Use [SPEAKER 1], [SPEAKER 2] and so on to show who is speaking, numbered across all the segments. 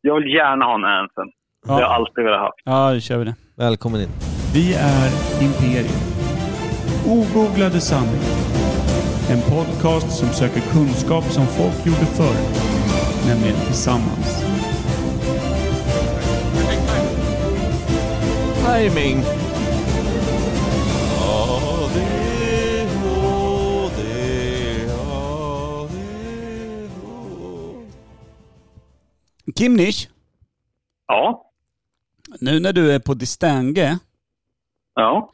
[SPEAKER 1] Jag vill gärna ha en Anthem. Det har jag alltid velat ha.
[SPEAKER 2] Ja, då kör vi det.
[SPEAKER 3] Välkommen in.
[SPEAKER 4] Vi är Imperium. Ogooglade sanningar. En podcast som söker kunskap som folk gjorde förr. Nämligen tillsammans.
[SPEAKER 3] Timing.
[SPEAKER 2] Kimnish,
[SPEAKER 1] Ja.
[SPEAKER 2] nu när du är på Distange,
[SPEAKER 1] Ja.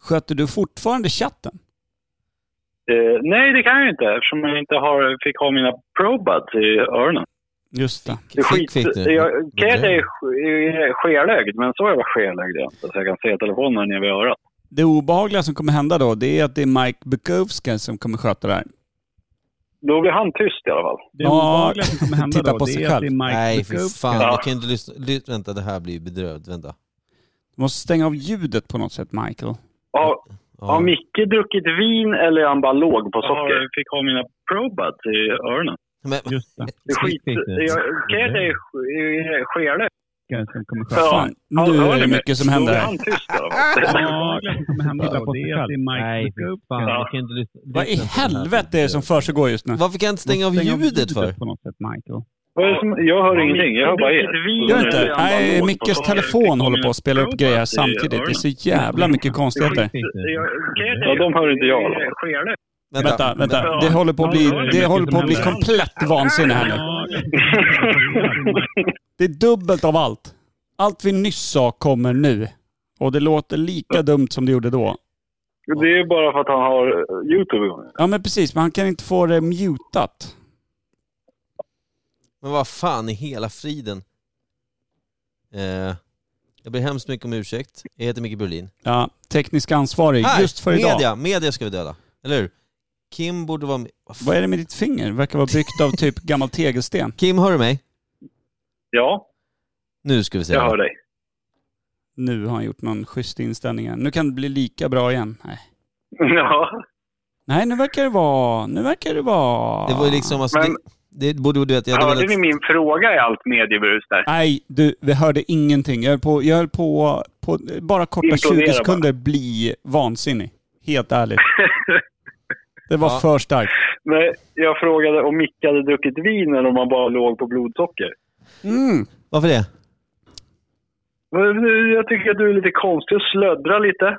[SPEAKER 2] sköter du fortfarande chatten?
[SPEAKER 1] Eh, nej, det kan jag ju inte eftersom jag inte har, fick ha mina probuds i öronen.
[SPEAKER 2] Just det.
[SPEAKER 1] Det är
[SPEAKER 3] Fick-
[SPEAKER 1] skit...
[SPEAKER 3] fick du?
[SPEAKER 1] Jag, kan jag
[SPEAKER 3] Men det-
[SPEAKER 1] säga sk- skelögd, men så är jag bara skelögd jag. Så jag kan se telefonen nere vid örat.
[SPEAKER 2] Det obehagliga som kommer hända då, det är att det är Mike Bukowska som kommer sköta det här.
[SPEAKER 1] Då blir han tyst i alla fall.
[SPEAKER 4] Det
[SPEAKER 2] Ja,
[SPEAKER 4] obehagliga som kommer hända
[SPEAKER 2] titta
[SPEAKER 4] då,
[SPEAKER 2] på sig
[SPEAKER 4] det är att
[SPEAKER 2] själv.
[SPEAKER 4] det är Mike
[SPEAKER 3] Nej, fy
[SPEAKER 4] Bukowska.
[SPEAKER 3] fan.
[SPEAKER 1] Ja.
[SPEAKER 3] Jag kan inte lyssna. Ly vänta, det här blir ju bedrövligt. Vänta.
[SPEAKER 2] Du måste stänga av ljudet på något sätt, Michael.
[SPEAKER 1] Har, har
[SPEAKER 3] Ja.
[SPEAKER 1] Micke druckit vin eller är han bara låg på socker? Jag fick ha mina probuds i öronen.
[SPEAKER 3] Men,
[SPEAKER 4] Just det.
[SPEAKER 1] Det är skit... jag- Kan jag säga sk- skelögd?
[SPEAKER 4] Obehagliga som kommer
[SPEAKER 1] Ja.
[SPEAKER 4] sköta.
[SPEAKER 2] Fan,
[SPEAKER 1] Ja,
[SPEAKER 2] nu
[SPEAKER 1] hör
[SPEAKER 2] är
[SPEAKER 1] ni
[SPEAKER 2] det
[SPEAKER 1] mig?
[SPEAKER 2] mycket som händer
[SPEAKER 1] Då är
[SPEAKER 2] här.
[SPEAKER 1] han tyst i alla fall.
[SPEAKER 4] Det obehagliga som kommer hända då, det är att det är Mike
[SPEAKER 5] Nej, fy fan.
[SPEAKER 1] Ja.
[SPEAKER 5] Jag kan inte lyssna.
[SPEAKER 2] Vad i
[SPEAKER 5] lyssna på den här
[SPEAKER 2] helvete är det som försiggår just nu?
[SPEAKER 3] varför kan jag inte stänga av ljudet för?
[SPEAKER 4] På något sätt, Michael.
[SPEAKER 1] Vad är det som- Jag hör ingenting, jag hör bara er.
[SPEAKER 2] Gör inte? Nej, Mickes telefon håller på att spela upp grejer här samtidigt. Det är så jävla mycket konstigheter.
[SPEAKER 1] Ja, de hör inte jag i alla fall.
[SPEAKER 3] Vänta.
[SPEAKER 2] Vänta, vänta. Det håller på att bli, det håller på att bli komplett vansinne här nu. Det är dubbelt av allt. Allt vi nyss sa kommer nu. Och det låter lika dumt som det gjorde då.
[SPEAKER 1] Det är bara för att han har eh, Youtube igång.
[SPEAKER 2] Ja men precis, men han kan inte få det mutat.
[SPEAKER 3] Men vad fan i hela friden? Eh, jag ber hemskt mycket om ursäkt. Jag heter Micke Berlin.
[SPEAKER 2] Ja, teknisk ansvarig
[SPEAKER 3] Här!
[SPEAKER 2] just för idag.
[SPEAKER 3] Media! Media ska vi döda. Eller hur? Kim borde vara med. Vad fan?
[SPEAKER 2] Vad är det med ditt finger? Verkar vara byggt av typ gammal tegelsten.
[SPEAKER 3] Kim, hör du mig?
[SPEAKER 1] Ja,
[SPEAKER 3] Nu ska vi se.
[SPEAKER 1] jag hör dig.
[SPEAKER 2] Nu har han gjort någon schysst inställning här. Nu kan det bli lika bra igen. Nej,
[SPEAKER 1] Ja,
[SPEAKER 2] Nej nu verkar det vara... Nu verkar det vara...
[SPEAKER 3] Det var ju liksom, alltså,
[SPEAKER 1] Men-
[SPEAKER 3] det, det borde du vet, jag hade
[SPEAKER 1] hörde
[SPEAKER 3] velat-
[SPEAKER 1] ni min fråga i allt mediebrus där?
[SPEAKER 2] Nej, du, vi hörde ingenting. Jag höll på, jag höll på, på bara korta
[SPEAKER 1] Implodera
[SPEAKER 2] 20 sekunder bli vansinnig. Helt ärligt. Det var
[SPEAKER 3] Ja.
[SPEAKER 2] för starkt.
[SPEAKER 1] Nej, jag frågade om Micke hade druckit vin eller om han bara låg på blodsocker.
[SPEAKER 2] Mm.
[SPEAKER 3] Varför det?
[SPEAKER 1] Men, eh, Jag tycker att du är lite konstig och slöddrar lite.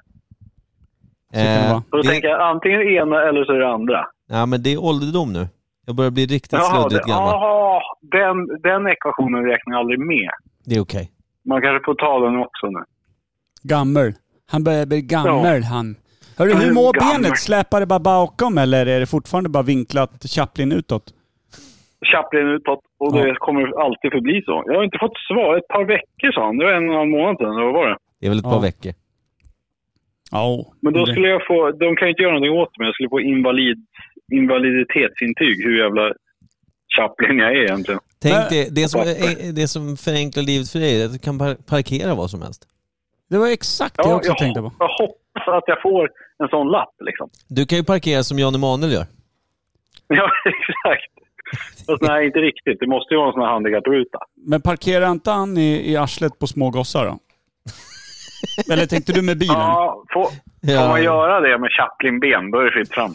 [SPEAKER 2] kan det vara.
[SPEAKER 1] Och då
[SPEAKER 3] Eh, det,
[SPEAKER 1] tänker jag antingen det ena eller så är det andra.
[SPEAKER 3] ja, men det är ålderdom nu. Jag börjar bli riktigt
[SPEAKER 1] det,
[SPEAKER 3] sluddigt gammal.
[SPEAKER 1] aha, den, den ekvationen räknar jag aldrig med.
[SPEAKER 3] Det är okej.
[SPEAKER 1] Man kanske får ta den också nu.
[SPEAKER 2] Gammel. Han börjar bli gammal han. Hörru,
[SPEAKER 1] Han
[SPEAKER 2] hur
[SPEAKER 1] är
[SPEAKER 2] mår
[SPEAKER 1] gammal.
[SPEAKER 2] benet? Släpar det bara bakom eller är det fortfarande bara vinklat Chaplin utåt?
[SPEAKER 1] Chaplin utåt och det kommer alltid förbli så. Jag har inte fått svar. Ett par veckor sa han. Det var en och en halv månad sedan. eller Vad var det?
[SPEAKER 3] Det är väl ett
[SPEAKER 2] Ja.
[SPEAKER 3] par veckor.
[SPEAKER 2] Ja.
[SPEAKER 1] Men då skulle jag få... De kan ju inte göra någonting åt mig. Jag skulle få invalid, invaliditetsintyg. Hur jävla Chaplin jag är egentligen.
[SPEAKER 3] Tänk
[SPEAKER 2] Men-
[SPEAKER 3] dig, det som, eh, det som förenklar livet för dig är att du kan par- parkera vad som helst.
[SPEAKER 2] Det var exakt det jag också tänkte på.
[SPEAKER 1] jag hoppas att jag får en sån lapp liksom.
[SPEAKER 3] Du kan ju parkera som Jan Emanuel gör.
[SPEAKER 1] Ja, exakt. Fast nej, inte riktigt. Det måste ju vara en sån här handikappruta.
[SPEAKER 2] Men parkerar inte han i, i arslet på små gossar då? eller tänkte du med bilen?
[SPEAKER 1] Ja, får, får man göra det med Chaplin-ben, då är det fritt fram.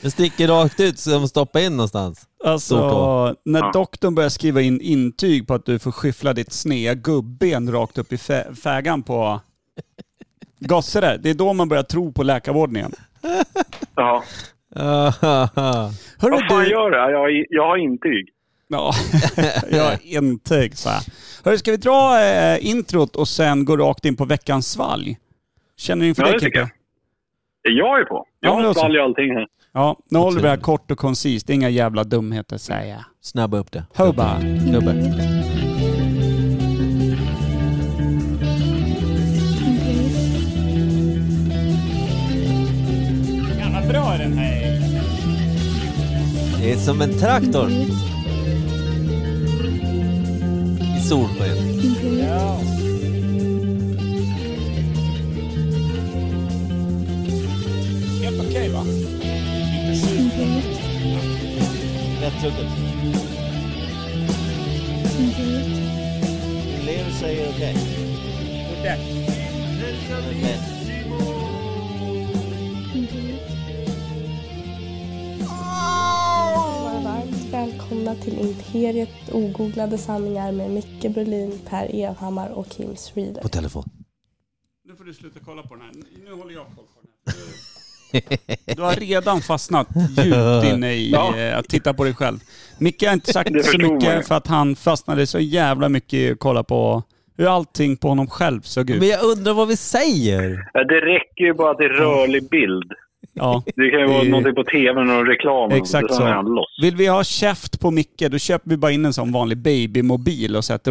[SPEAKER 3] Den sticker rakt ut så de stoppar in någonstans. Stort
[SPEAKER 2] Alltså,
[SPEAKER 3] A.
[SPEAKER 2] när
[SPEAKER 1] Ja.
[SPEAKER 2] doktorn börjar skriva in intyg på att du får skyffla ditt snea gubben rakt upp i fä fägan på gosse där, det är då man börjar tro på läkarvården igen.
[SPEAKER 1] Ja.
[SPEAKER 2] Hörru
[SPEAKER 1] Vad fan
[SPEAKER 2] du...
[SPEAKER 1] gör det? Jag, jag har intyg.
[SPEAKER 2] Ja, jag har intyg så här. Hörru, ska vi dra eh, introt och sen gå rakt in på veckans svalg? Känner du inför
[SPEAKER 1] Ja,
[SPEAKER 2] det
[SPEAKER 1] det tycker
[SPEAKER 2] Kicka?
[SPEAKER 1] jag. Jag är på.
[SPEAKER 2] Ja, men alltså- det var
[SPEAKER 1] Jag
[SPEAKER 2] så.
[SPEAKER 1] svalg ju allting här.
[SPEAKER 2] Ja, nu håller vi det här kort och koncist. Det är inga jävla dumheter säger jag.
[SPEAKER 3] Snabba upp det.
[SPEAKER 2] Hubba!
[SPEAKER 3] Snubbe.
[SPEAKER 2] Jävla bra den här.
[SPEAKER 3] Det är som en traktor i solsken.
[SPEAKER 2] Helt okej va?
[SPEAKER 3] Rätt tugget.
[SPEAKER 5] Glasventil.
[SPEAKER 3] Leo säger okej. Okej.
[SPEAKER 5] Ventil.
[SPEAKER 6] vara varmt välkomna till Imperiet ogooglade sanningar med Micke Berlin, Per Evhammar och Kim Schreeder.
[SPEAKER 3] På telefon.
[SPEAKER 2] Nu får du sluta kolla på den här. Nu håller jag koll på den här. Du har redan fastnat djupt inne i
[SPEAKER 1] Ja.
[SPEAKER 2] eh, att titta på dig själv. Micke har inte
[SPEAKER 1] Det
[SPEAKER 2] sagt så
[SPEAKER 1] förstod man ju.
[SPEAKER 2] mycket för att han fastnade så jävla mycket i att kolla på hur allting på honom själv såg
[SPEAKER 3] Men
[SPEAKER 2] ut.
[SPEAKER 3] jag undrar vad vi säger.
[SPEAKER 1] Ja, det räcker ju bara att det är rörlig bild.
[SPEAKER 2] Ja.
[SPEAKER 1] Det kan ju vara
[SPEAKER 2] Det är-
[SPEAKER 1] någonting på tv, någon reklam. eller
[SPEAKER 2] Exakt
[SPEAKER 1] något, sen
[SPEAKER 2] så.
[SPEAKER 1] är han loss.
[SPEAKER 2] Vill vi ha käft på Micke, då köper vi bara in en sån vanlig babymobil och sätter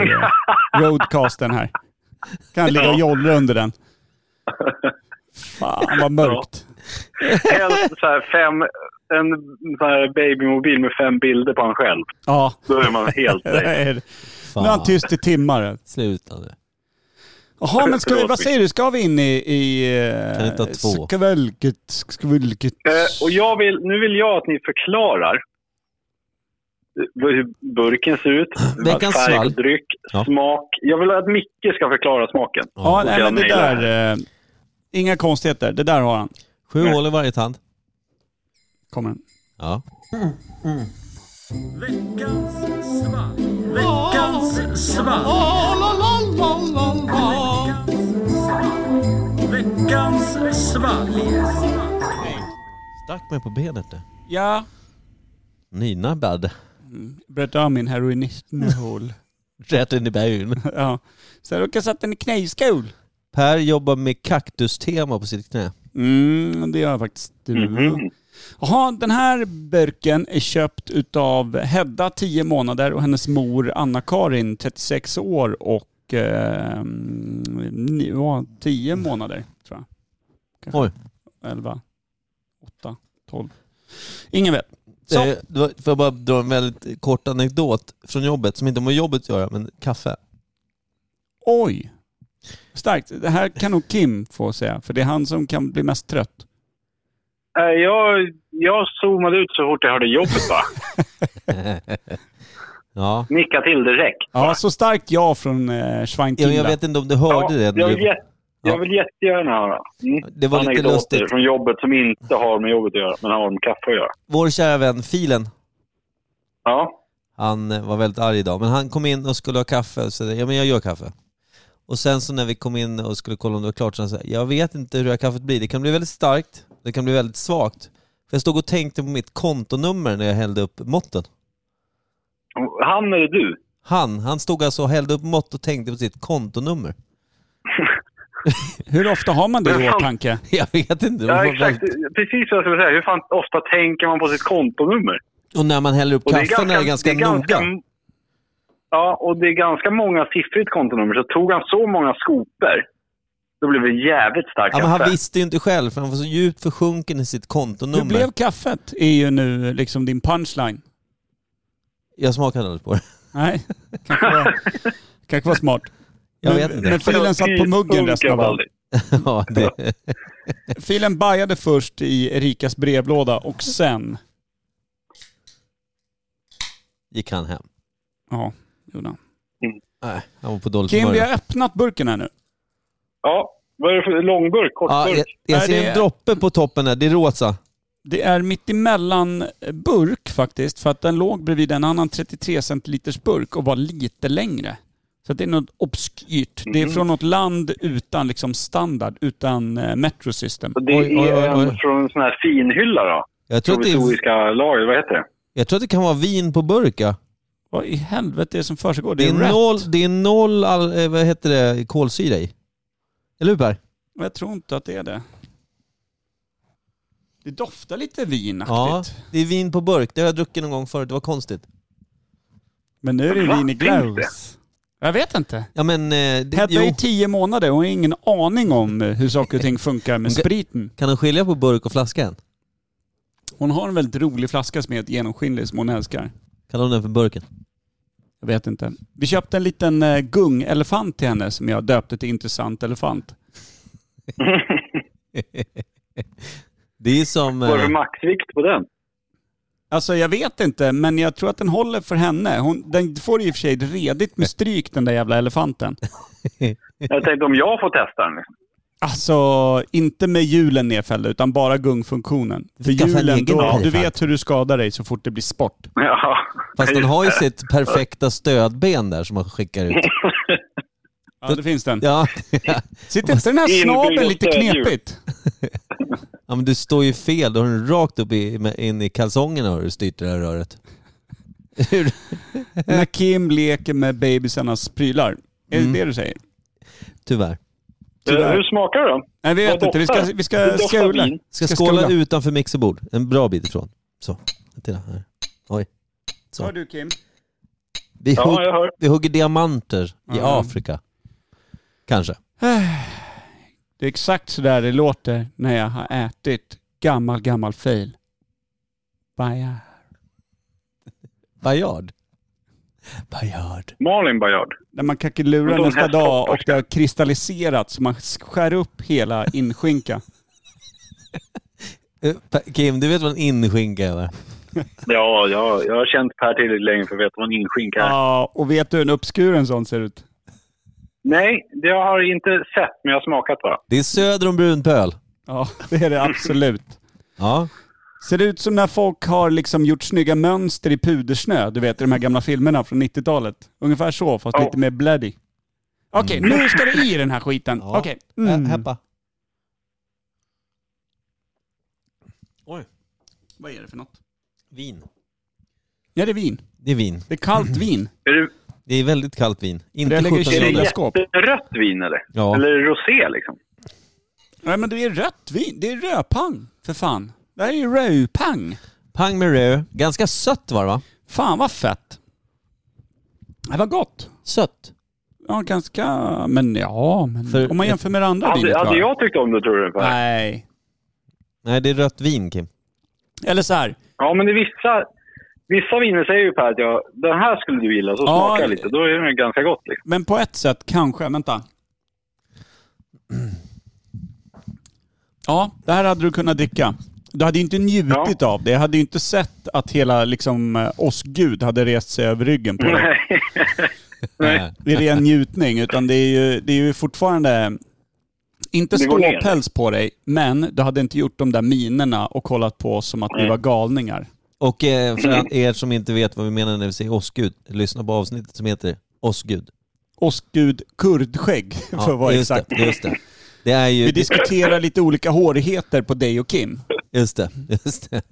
[SPEAKER 2] eh, roadcasten här. Kan ligga och jollra under den. Fan vad mörkt.
[SPEAKER 1] Helst så här fem, en sån här babymobil med fem bilder på han själv.
[SPEAKER 2] Ja.
[SPEAKER 1] Då är man helt
[SPEAKER 2] det
[SPEAKER 1] safe.
[SPEAKER 2] är det.
[SPEAKER 3] Fan.
[SPEAKER 2] Nu är han tyst i timmar.
[SPEAKER 3] Sluta nu.
[SPEAKER 2] Jaha, men ska vi,
[SPEAKER 1] Förlåt,
[SPEAKER 2] vad säger du? Ska vi in i... i eh,
[SPEAKER 3] Kan vi inte ha två?
[SPEAKER 2] Skvälket, skvälket.
[SPEAKER 1] Eh, och jag vill, nu vill jag att ni förklarar eh, hur burken ser ut,
[SPEAKER 3] Veckans
[SPEAKER 1] färg på
[SPEAKER 3] svalg.
[SPEAKER 1] dryck,
[SPEAKER 3] Ja.
[SPEAKER 1] smak. Jag vill att Micke ska förklara smaken.
[SPEAKER 2] Ja, nej, men det
[SPEAKER 1] jag mejlar.
[SPEAKER 2] där... Eh, inga konstigheter. Det där har han.
[SPEAKER 3] Sju hål i varje tand.
[SPEAKER 2] Kommer den.
[SPEAKER 3] Ja. Stack mig på benet du.
[SPEAKER 2] Ja.
[SPEAKER 3] Nynabbad.
[SPEAKER 2] Berätta om min heroinistnål.
[SPEAKER 3] Rätt in i bergen.
[SPEAKER 2] ja. Så jag råkade sätta den i knäskål.
[SPEAKER 3] Per jobbar med kaktustema på sitt knä.
[SPEAKER 2] Mm, det gör jag faktiskt. Du. Jaha, den här burken är köpt utav Hedda, 10 månader, och hennes mor Anna-Karin, 36 år och eh, ni- ja, 10 månader, tror
[SPEAKER 3] Oj.
[SPEAKER 2] jag. 11, 8, 12. Ingen vet. Så.
[SPEAKER 3] Eh, det var- Får jag bara dra en väldigt kort anekdot från jobbet som inte har med jobbet att göra, men kaffe.
[SPEAKER 2] Oj! Starkt. Det här kan nog Kim få säga, för det är han som kan bli mest trött.
[SPEAKER 1] Eh, jag, jag zoomade ut så fort jag hörde jobbet va?
[SPEAKER 3] Ja.
[SPEAKER 1] Nicka till direkt.
[SPEAKER 2] Ja, så starkt ja från eh,
[SPEAKER 3] Jag,
[SPEAKER 2] Schweinkinder.
[SPEAKER 3] jag vet inte om du hörde det. när
[SPEAKER 1] jag,
[SPEAKER 3] du-
[SPEAKER 1] vill jätte, jag vill jättegärna höra. Mm.
[SPEAKER 3] Det var lite
[SPEAKER 1] Anekdoter
[SPEAKER 3] lustigt.
[SPEAKER 1] från jobbet som inte har med jobbet att göra, men har med kaffe att göra.
[SPEAKER 3] Vår kära vän Filen,
[SPEAKER 1] Ja.
[SPEAKER 3] han eh, var väldigt arg idag, men han kom in och skulle ha kaffe och sa ja men jag gör kaffe. Och sen så när vi kom in och skulle kolla om det var klart så han sa jag vet inte hur det här kaffet blir. Det kan bli väldigt starkt, det kan bli väldigt svagt. För jag stod och tänkte på mitt kontonummer när jag hällde upp måtten.
[SPEAKER 1] Han eller du?
[SPEAKER 3] Han, han stod alltså och hällde upp mått och tänkte på sitt kontonummer.
[SPEAKER 2] Hur ofta har man det i
[SPEAKER 1] Men fan-
[SPEAKER 2] åtanke?
[SPEAKER 3] Jag vet inte. det var
[SPEAKER 1] Ja, exakt.
[SPEAKER 3] väldigt-
[SPEAKER 1] Precis vad jag skulle säga. Hur fan ofta tänker man på sitt kontonummer?
[SPEAKER 3] Och när man häller upp
[SPEAKER 1] Och
[SPEAKER 3] kaffen är det ganska
[SPEAKER 1] det är ganska-
[SPEAKER 3] noga.
[SPEAKER 1] Ja, och det är ganska många siffrigt kontonummer. Så tog han så många skopor, då blev det jävligt starkt
[SPEAKER 3] Ja, men
[SPEAKER 1] kaffe.
[SPEAKER 3] han visste ju inte själv för han var så djupt försjunken i sitt
[SPEAKER 2] Hur
[SPEAKER 3] kontonummer.
[SPEAKER 2] blev kaffet? är ju nu liksom din punchline.
[SPEAKER 3] Jag smakade aldrig på det.
[SPEAKER 2] Nej, kanske var, kanske var smart.
[SPEAKER 3] Jag
[SPEAKER 2] Men-
[SPEAKER 3] vet inte.
[SPEAKER 2] Men
[SPEAKER 1] Det var
[SPEAKER 2] filen satt på muggen
[SPEAKER 1] Alltså, funkar
[SPEAKER 2] resten av dagen.
[SPEAKER 1] aldrig.
[SPEAKER 3] Ja, det,
[SPEAKER 2] Filen bajade först i Erikas brevlåda och sen...
[SPEAKER 3] gick han hem.
[SPEAKER 2] Ja, gjorde han.
[SPEAKER 3] Nej, han var på dåligt
[SPEAKER 2] Kim,
[SPEAKER 3] humör.
[SPEAKER 2] vi har öppnat burken här nu.
[SPEAKER 1] Ja, vad är det för långburk?
[SPEAKER 3] Ja,
[SPEAKER 1] Kortburk?
[SPEAKER 3] jag, jag
[SPEAKER 2] Nej,
[SPEAKER 3] ser
[SPEAKER 2] det-
[SPEAKER 3] en droppe på toppen där, det är rosa.
[SPEAKER 2] Det är mittemellan burk faktiskt, för att den låg bredvid en annan 33 centiliters burk och var lite längre. Så att det är något obskyrt. Det
[SPEAKER 1] Mm.
[SPEAKER 2] är från något land utan liksom standard, utan eh, metrosystem.
[SPEAKER 1] Och det
[SPEAKER 3] Oj, oj, oj,
[SPEAKER 1] är en
[SPEAKER 3] oj.
[SPEAKER 1] från en sån här finhylla då?
[SPEAKER 3] Jag tror, att det är,
[SPEAKER 1] Provisoriska lager, vad heter det?
[SPEAKER 3] jag tror att det kan vara vin på burk ja.
[SPEAKER 2] Vad i helvete är det som försiggår?
[SPEAKER 3] det,
[SPEAKER 2] Det
[SPEAKER 3] är
[SPEAKER 2] är rätt.
[SPEAKER 3] noll, det är noll all, eh, vad heter det, kolsyra i. Eller hur Per?
[SPEAKER 2] Jag tror inte att det är det. Det doftar lite
[SPEAKER 3] Ja,
[SPEAKER 2] vinaktigt.
[SPEAKER 3] det är vin på burk. Det har jag druckit någon gång förut, det var konstigt.
[SPEAKER 2] Men nu är det
[SPEAKER 1] Va?
[SPEAKER 2] vin i
[SPEAKER 1] Finns
[SPEAKER 2] glass. Jag vet inte.
[SPEAKER 3] Ja men, eh, det,
[SPEAKER 2] Hedda är
[SPEAKER 3] jo,
[SPEAKER 2] ju tio månader och har ingen aning om hur saker och ting funkar med
[SPEAKER 3] Hon kan-
[SPEAKER 2] spriten.
[SPEAKER 3] kan han skilja på burk och flaska än?
[SPEAKER 2] Hon har en väldigt rolig flaska som är helt genomskinlig som hon älskar.
[SPEAKER 3] Kallar hon den för burken?
[SPEAKER 2] Jag vet inte. Vi köpte en liten eh, gungelefant till henne som jag döpte till intressant elefant.
[SPEAKER 3] Det är som...
[SPEAKER 1] Vad är det för
[SPEAKER 3] Eh,
[SPEAKER 1] maxvikt på den?
[SPEAKER 2] Alltså jag vet inte, men jag tror att den håller för henne. Hon, den får i och för sig redigt med stryk den där jävla elefanten.
[SPEAKER 1] Jag tänkte om jag får testa den. liksom.
[SPEAKER 2] Alltså, inte med hjulen nedfällda, utan bara gungfunktionen. För
[SPEAKER 3] Skaffa en
[SPEAKER 2] hjulen,
[SPEAKER 3] egen
[SPEAKER 2] då,
[SPEAKER 3] elefant.
[SPEAKER 2] du vet hur du skadar dig så fort det blir sport.
[SPEAKER 1] Ja.
[SPEAKER 3] Fast den har ju sitt perfekta stödben där som man skickar ut.
[SPEAKER 2] Ja, det finns den.
[SPEAKER 3] Ja,
[SPEAKER 2] Sitter inte den här
[SPEAKER 1] Inbyggda
[SPEAKER 2] snabeln lite
[SPEAKER 1] stödhjul.
[SPEAKER 2] knepigt?
[SPEAKER 3] ja men du står ju fel. Då har den rakt upp i, med- in i kalsongerna har du styrt det här röret. Hur-
[SPEAKER 2] När Kim leker med babysarnas prylar. Är
[SPEAKER 3] Mm.
[SPEAKER 2] det det du säger?
[SPEAKER 3] Tyvärr.
[SPEAKER 2] Tyvärr.
[SPEAKER 1] Eh, Hur smakar det då?
[SPEAKER 2] Nej, vi vet
[SPEAKER 1] Vad
[SPEAKER 2] inte. Vi ska,
[SPEAKER 1] doftar?
[SPEAKER 2] vi
[SPEAKER 1] Det
[SPEAKER 2] ska
[SPEAKER 1] doftar
[SPEAKER 2] skula.
[SPEAKER 1] vin.
[SPEAKER 3] Ska,
[SPEAKER 2] Ska
[SPEAKER 3] skåla
[SPEAKER 2] skåla.
[SPEAKER 3] utanför mixerbord. En bra bit ifrån. Så. Titta här. Så.
[SPEAKER 2] Hör du Kim?
[SPEAKER 3] Vi,
[SPEAKER 1] Ja,
[SPEAKER 3] hugger,
[SPEAKER 1] jag hör.
[SPEAKER 3] vi hugger diamanter i
[SPEAKER 2] Ja.
[SPEAKER 3] Afrika. Kanske.
[SPEAKER 2] Det är exakt sådär det låter när jag har ätit gammal, gammal fail. Baja.
[SPEAKER 3] Bajard. Bajard.
[SPEAKER 1] Malin Bajard.
[SPEAKER 2] När man
[SPEAKER 1] Men
[SPEAKER 2] kackelurar
[SPEAKER 1] de
[SPEAKER 2] nästa
[SPEAKER 1] här
[SPEAKER 2] dag och
[SPEAKER 1] stopparska.
[SPEAKER 2] det har kristalliserat så man skär upp hela inskinka.
[SPEAKER 3] Eh, Pa- Kim, du vet vad en inskinka är va?
[SPEAKER 1] Ja, ja, jag har känt Per tillräckligt länge för att veta vad en inskinka är.
[SPEAKER 2] Ja, och vet du hur en uppskuren sån ser ut?
[SPEAKER 1] Nej, det har jag inte sett, men jag har smakat bara.
[SPEAKER 3] Det är söder om brunpöl.
[SPEAKER 2] Ja, det är det absolut.
[SPEAKER 3] Ja.
[SPEAKER 2] Ser det ut som när folk har liksom gjort snygga mönster i pudersnö, du vet de här gamla filmerna från 90-talet. Ungefär så, fast
[SPEAKER 1] Ja.
[SPEAKER 2] lite mer bloody. Okej, nu ska det i den här skiten.
[SPEAKER 3] Mm. Ja.
[SPEAKER 2] Okej.
[SPEAKER 3] Mm. Heppa. Oj,
[SPEAKER 2] Vad är det för något?
[SPEAKER 3] vin.
[SPEAKER 2] Ja, det är vin.
[SPEAKER 3] Det är vin.
[SPEAKER 2] Det är kallt vin.
[SPEAKER 1] Är det,
[SPEAKER 3] Det är väldigt kallt vin.
[SPEAKER 2] jag
[SPEAKER 3] Inte
[SPEAKER 2] lägger i
[SPEAKER 3] 17
[SPEAKER 1] är det
[SPEAKER 2] kylen.
[SPEAKER 3] grader.
[SPEAKER 2] skåp.
[SPEAKER 1] jätterött vin eller?
[SPEAKER 3] Ja.
[SPEAKER 1] Eller är det rosé liksom?
[SPEAKER 2] Nej, men det är rött vin. Det är rödpang, för fan. Det här är ju rödpang.
[SPEAKER 3] Pang med rö. Ganska sött var det va?
[SPEAKER 2] Fan vad fett. Det var gott.
[SPEAKER 3] Sött.
[SPEAKER 2] Ja, ganska... Men ja, men
[SPEAKER 3] För-
[SPEAKER 2] om man jämför med det andra
[SPEAKER 1] Hade,
[SPEAKER 2] vinet
[SPEAKER 1] hade
[SPEAKER 2] va?
[SPEAKER 1] jag tyckt om det tror du? Per?
[SPEAKER 2] Nej.
[SPEAKER 3] Nej, det är rött vin Kim.
[SPEAKER 2] Eller så här.
[SPEAKER 1] Ja, men det är vissa, vissa viner säger ju Per att jag, den här skulle du gilla, så
[SPEAKER 2] Ja.
[SPEAKER 1] smakar jag lite. Då är den ju ganska gott liksom.
[SPEAKER 2] Men på ett sätt kanske. Vänta. Ja, det här hade du kunnat dricka. Du hade ju inte njutit av det. Jag hade ju inte sett att hela liksom, eh, oss gud hade rest sig över ryggen på dig.
[SPEAKER 1] Nej.
[SPEAKER 3] Nej.
[SPEAKER 2] Det är ren njutning. Utan det är ju, det är ju fortfarande... Inte
[SPEAKER 1] Det går ner.
[SPEAKER 2] ståpäls på dig, men du hade inte gjort de där minerna och kollat på oss som att vi var galningar.
[SPEAKER 3] Och eh, för er som inte vet vad vi menar när vi säger åskgud, lyssna på avsnittet som heter åskgud.
[SPEAKER 2] Oss gud kurdskägg, för att vara
[SPEAKER 3] just
[SPEAKER 2] exakt.
[SPEAKER 3] Det, just det. Det är
[SPEAKER 2] Vi
[SPEAKER 3] ju...
[SPEAKER 2] diskuterar lite olika hårigheter på dig och Kim.
[SPEAKER 3] Just det. Just det.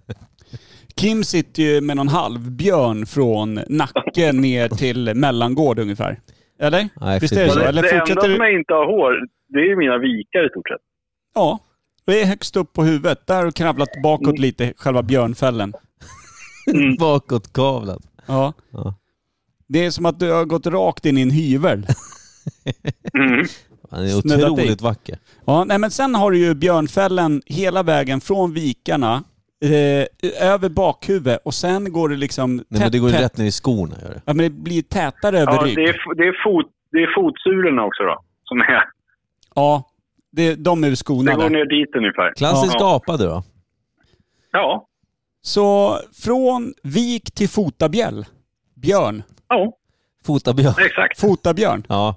[SPEAKER 2] Kim sitter ju med någon halvbjörn från Nacke ner till Mellangård ungefär. Eller?
[SPEAKER 3] Nej,
[SPEAKER 2] Visst är det
[SPEAKER 3] fy
[SPEAKER 2] så?
[SPEAKER 3] fan.
[SPEAKER 1] det
[SPEAKER 2] Eller
[SPEAKER 1] det enda
[SPEAKER 2] fortsätter
[SPEAKER 1] som
[SPEAKER 2] du?
[SPEAKER 1] jag inte har hår, det är ju mina vikar i stort sett.
[SPEAKER 2] Ja. Det är högst upp på huvudet. Där har du kravlat
[SPEAKER 1] Mm.
[SPEAKER 2] bakåt lite, själva björnfällen.
[SPEAKER 3] Bakåtkavlat.
[SPEAKER 2] Ja.
[SPEAKER 3] Ja.
[SPEAKER 2] Det är som att du har gått rakt in i en hyvel.
[SPEAKER 1] Mm.
[SPEAKER 3] Han är
[SPEAKER 2] Snuddat
[SPEAKER 3] otroligt
[SPEAKER 2] i.
[SPEAKER 3] vacker.
[SPEAKER 2] Ja, nej men sen har du ju björnfällen hela vägen från vikarna, eh, över bakhuvudet och sen går det liksom tätt,
[SPEAKER 3] Nej, men det går ju
[SPEAKER 2] tätt.
[SPEAKER 3] rätt ner i skorna. Gör det.
[SPEAKER 2] Ja, men det blir tätare över
[SPEAKER 1] Ja,
[SPEAKER 2] rygg.
[SPEAKER 1] det är, f- det, är fot, det är fotsulorna också då, som är...
[SPEAKER 2] Ja, det, de är
[SPEAKER 1] Det går
[SPEAKER 2] skonade.
[SPEAKER 1] ner dit ungefär.
[SPEAKER 3] Klassiskt
[SPEAKER 1] Ja.
[SPEAKER 3] apade då.
[SPEAKER 1] Ja.
[SPEAKER 2] Så från vik till fotabjäll. Björn.
[SPEAKER 1] Ja,
[SPEAKER 3] Fotabjörn.
[SPEAKER 1] exakt.
[SPEAKER 2] Fotabjörn.
[SPEAKER 3] Ja.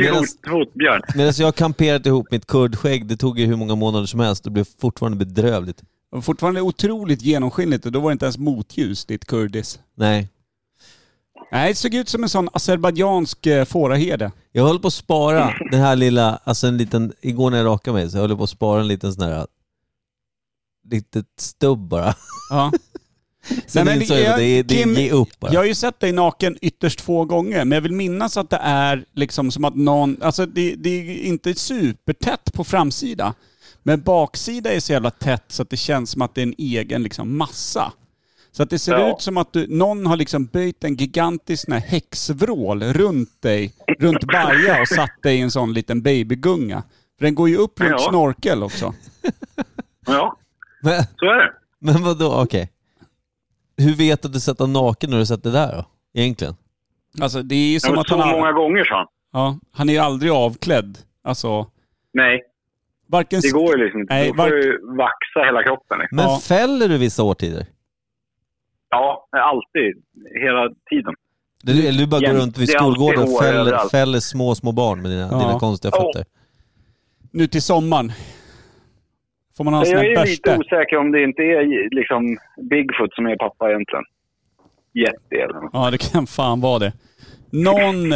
[SPEAKER 3] Medans-
[SPEAKER 1] Fot, fotbjörn.
[SPEAKER 3] Medan jag har kamperat ihop mitt kurdskägg, det tog ju hur många månader som helst och det blev fortfarande bedrövligt.
[SPEAKER 2] Och Fortfarande otroligt genomskinligt och då var det inte ens motljus, ditt kurdis.
[SPEAKER 3] Nej.
[SPEAKER 2] Nej, det såg ut som en sån azerbajdzjansk eh, fåraherde.
[SPEAKER 3] Jag höll på att spara den här lilla, alltså en liten, igår när jag rakade mig så höll jag på att spara en liten sån här, äh, litet stubb bara.
[SPEAKER 2] Ja.
[SPEAKER 3] Sen
[SPEAKER 2] men det
[SPEAKER 3] insåg jag
[SPEAKER 2] är-
[SPEAKER 3] att det är, det är
[SPEAKER 2] Kim,
[SPEAKER 3] ge upp bara.
[SPEAKER 2] Jag har ju sett dig naken ytterst få gånger, men jag vill minnas att det är liksom som att någon... Alltså det, det är inte supertätt på framsida, men baksida är så jävla tätt så att det känns som att det är en egen liksom massa. Så att det ser
[SPEAKER 1] Ja.
[SPEAKER 2] ut som att du, någon har liksom böjt en gigantisk sån här häxvrål runt dig, runt Baja och satt dig i en sån liten babygunga. För den går ju upp runt
[SPEAKER 1] Ja.
[SPEAKER 2] snorkel också.
[SPEAKER 1] Ja,
[SPEAKER 3] Men,
[SPEAKER 1] så är det.
[SPEAKER 3] men vadå, okej. Hur vet du att du satt naken när du satt det där då? Egentligen?
[SPEAKER 2] Alltså det är ju
[SPEAKER 1] Jag
[SPEAKER 2] som
[SPEAKER 1] har
[SPEAKER 2] att
[SPEAKER 1] så
[SPEAKER 2] han,
[SPEAKER 1] många
[SPEAKER 2] har,
[SPEAKER 1] gånger sa han.
[SPEAKER 2] ja, han är ju aldrig avklädd. Alltså,
[SPEAKER 1] Nej,
[SPEAKER 2] varken
[SPEAKER 1] det går ju liksom inte.
[SPEAKER 2] Nej,
[SPEAKER 1] Då får
[SPEAKER 2] vark-
[SPEAKER 1] du ju vaxa hela kroppen. Liksom.
[SPEAKER 3] Men
[SPEAKER 2] Ja.
[SPEAKER 3] fäller du vissa årtider?
[SPEAKER 1] Ja, alltid. Hela tiden.
[SPEAKER 2] Mm.
[SPEAKER 3] Du, eller du bara går
[SPEAKER 1] Jämt.
[SPEAKER 3] runt vid
[SPEAKER 1] Det är alltid
[SPEAKER 3] skolgården och
[SPEAKER 1] hår
[SPEAKER 3] fäller,
[SPEAKER 1] överallt.
[SPEAKER 3] fäller små, små barn med dina,
[SPEAKER 2] Ja.
[SPEAKER 3] dina konstiga
[SPEAKER 1] Ja.
[SPEAKER 3] fötter.
[SPEAKER 2] Nu till sommaren. Får man ha en sån
[SPEAKER 1] Jag
[SPEAKER 2] här
[SPEAKER 1] är lite
[SPEAKER 2] bärste?
[SPEAKER 1] osäker om det inte är liksom Bigfoot som är pappa egentligen. Jätte eller något.
[SPEAKER 2] Ja, det kan fan vara det. Någon,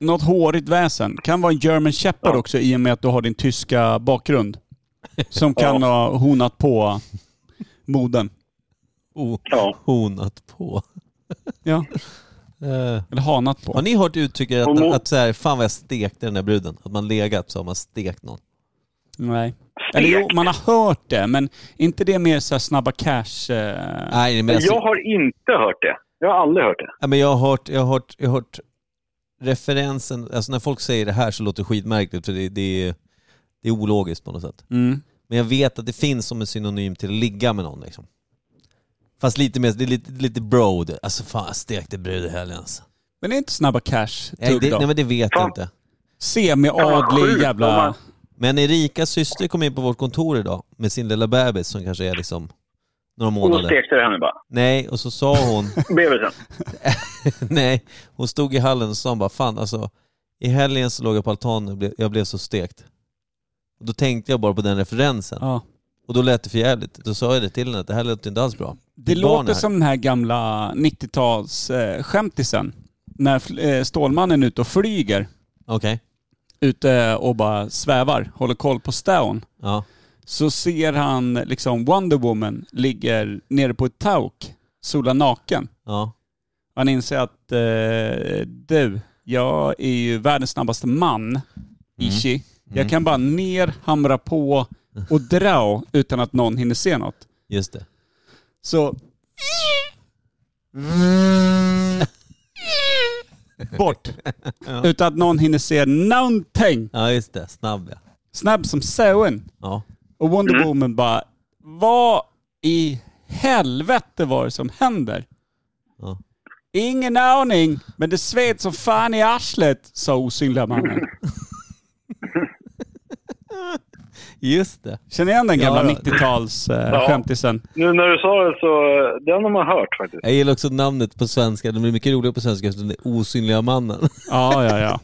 [SPEAKER 2] något hårigt väsen. Kan vara en German Shepherd också i och med att du har din tyska bakgrund. Som kan ha honat på moden.
[SPEAKER 3] Oh,
[SPEAKER 1] Ja.
[SPEAKER 3] honat på.
[SPEAKER 2] Ja,
[SPEAKER 3] Eh,
[SPEAKER 2] eller hanat på.
[SPEAKER 3] har ni hört uttrycket att,
[SPEAKER 1] Och mo-
[SPEAKER 3] att, så här, fan vad jag stekte den där bruden? Att man legat så har man stekt någon.
[SPEAKER 2] Nej. Eller jo, man har hört det, men inte det mer så här snabba cash... Eh...
[SPEAKER 3] Nej, men, alltså,
[SPEAKER 1] Jag har inte hört det. Jag har aldrig hört det.
[SPEAKER 3] ja, men jag har hört, jag har hört, jag har hört referensen, alltså när folk säger det här så låter det skitmärkligt för det, det, är- det är ologiskt på något sätt.
[SPEAKER 2] Mm.
[SPEAKER 3] Men jag vet att det finns som en synonym till att ligga med någon liksom. Fast lite mer, det är lite, lite bro det. Alltså fan, jag stekte brud i helgen alltså.
[SPEAKER 2] Men det är inte snabba
[SPEAKER 3] Nej,
[SPEAKER 2] cash-tugg
[SPEAKER 3] det, nej
[SPEAKER 2] då?
[SPEAKER 3] men det vet jag
[SPEAKER 1] Fan.
[SPEAKER 3] inte.
[SPEAKER 1] Ja,
[SPEAKER 2] Semi-adlig
[SPEAKER 1] sjukt, om
[SPEAKER 2] jävla...
[SPEAKER 1] man-
[SPEAKER 3] Men Erikas syster kom in på vårt kontor idag med sin lilla bebis som kanske är liksom några
[SPEAKER 1] Och då
[SPEAKER 3] månader.
[SPEAKER 1] stekte det henne bara.
[SPEAKER 3] Nej, och så sa hon,
[SPEAKER 1] Bebisen.
[SPEAKER 3] nej, hon stod i hallen och sa bara fan alltså, i helgen så låg jag på altanen och blev, jag blev så stekt. Och då tänkte jag bara på den referensen.
[SPEAKER 2] Ja.
[SPEAKER 3] Och då lät det för jävligt. Då sa jag det till henne, att det här låter inte alls bra.
[SPEAKER 2] Det
[SPEAKER 3] Ditt barn är
[SPEAKER 2] låter
[SPEAKER 3] här.
[SPEAKER 2] som den här gamla 90-talsskämtisen. när fl- eh, Stålmannen är ute och flyger.
[SPEAKER 3] Okej,
[SPEAKER 2] Ute och bara svävar, håller koll på stan.
[SPEAKER 3] ja.
[SPEAKER 2] Så ser han liksom Wonder Woman ligger nere på ett tauk, sola naken.
[SPEAKER 3] ja.
[SPEAKER 2] Han inser att eh, du, jag är ju världens snabbaste
[SPEAKER 3] Mm.
[SPEAKER 2] man, Ishi. Jag kan bara ner, hamra på och dra utan att någon hinner se något.
[SPEAKER 3] Just det.
[SPEAKER 2] Så... Bort. Utan att någon hinner se någonting.
[SPEAKER 3] Ja just det, snabb ja.
[SPEAKER 2] Snabb som sauen.
[SPEAKER 3] ja.
[SPEAKER 2] Och Wonder Woman bara, vad i helvete var det som händer?
[SPEAKER 3] Ja.
[SPEAKER 2] Ingen aning, men det sved som fan i arslet, sa osynliga mannen.
[SPEAKER 3] Just det.
[SPEAKER 2] Känner igen den gamla
[SPEAKER 3] Ja, då.
[SPEAKER 2] 90-talsskämtisen? Eh,
[SPEAKER 1] Ja.
[SPEAKER 2] skämtisen?
[SPEAKER 1] Nu när du sa det så, eh, den har man hört faktiskt.
[SPEAKER 3] Jag gillar också namnet på svenska. Det blir mycket roligare på svenska eftersom det är osynliga mannen.
[SPEAKER 2] ja, ja, ja.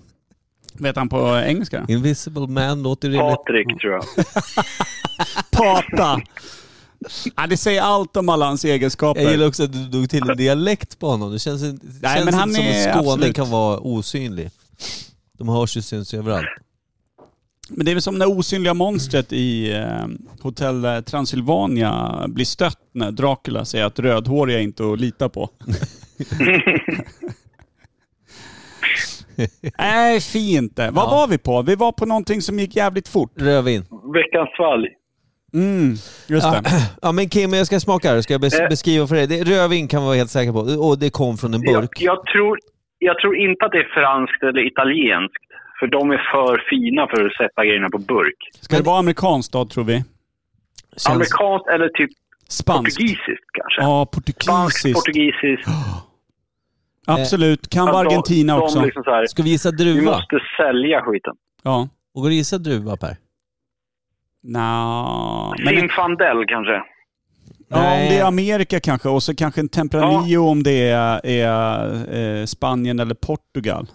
[SPEAKER 2] Vet han på engelska?
[SPEAKER 3] Invisible man låter ju rimligt.
[SPEAKER 1] Patrik tror jag.
[SPEAKER 3] Mm.
[SPEAKER 2] Pata. Ja, det säger allt om alla hans egenskaper.
[SPEAKER 3] Jag gillar också att du drog till en dialekt på honom. Det känns, det känns
[SPEAKER 2] men
[SPEAKER 3] inte
[SPEAKER 2] han
[SPEAKER 3] som
[SPEAKER 2] är
[SPEAKER 3] en skåning
[SPEAKER 2] absolut-
[SPEAKER 3] kan vara osynlig. De hörs ju syns ju överallt.
[SPEAKER 2] Men det är väl som när osynliga monstret i eh, Hotell Transylvania blir stött när Dracula säger att rödhåriga är inte att lita på. Nej, fint det. Vad
[SPEAKER 3] Ja.
[SPEAKER 2] var vi på? Vi var på någonting som gick jävligt fort.
[SPEAKER 3] Rövin.
[SPEAKER 1] Veckans svalg.
[SPEAKER 2] Mm, just det.
[SPEAKER 3] Ja men Kim, jag ska smaka här. Ska jag bes-
[SPEAKER 1] Eh.
[SPEAKER 3] beskriva för dig. Det, rövin kan man vara helt säker på. Och det kom från en
[SPEAKER 1] Jag,
[SPEAKER 3] burk.
[SPEAKER 1] jag, tror, jag tror inte att det är franskt eller italienskt. För de är för fina för att sätta grejerna på burk.
[SPEAKER 2] Ska det vara amerikanskt då, tror vi?
[SPEAKER 3] Känns,
[SPEAKER 1] Amerikanskt eller typ
[SPEAKER 2] Spanskt?
[SPEAKER 1] portugisiskt kanske.
[SPEAKER 2] Ja,
[SPEAKER 1] Spanskt,
[SPEAKER 2] portugisiskt.
[SPEAKER 1] portugisiskt.
[SPEAKER 2] Absolut. Kan vara
[SPEAKER 1] Att de-
[SPEAKER 2] Argentina
[SPEAKER 1] de
[SPEAKER 2] också.
[SPEAKER 1] Liksom så här,
[SPEAKER 3] ska vi gissa
[SPEAKER 1] vi
[SPEAKER 3] druva?
[SPEAKER 1] måste sälja skiten.
[SPEAKER 2] Ja.
[SPEAKER 3] Och går det att gissa druva Per?
[SPEAKER 2] Nja... men-
[SPEAKER 1] Zinfandel kanske.
[SPEAKER 2] Ja, om det
[SPEAKER 3] Nej.
[SPEAKER 2] är Amerika kanske och så kanske en Tempranillo om det är, är eh, Spanien eller Portugal.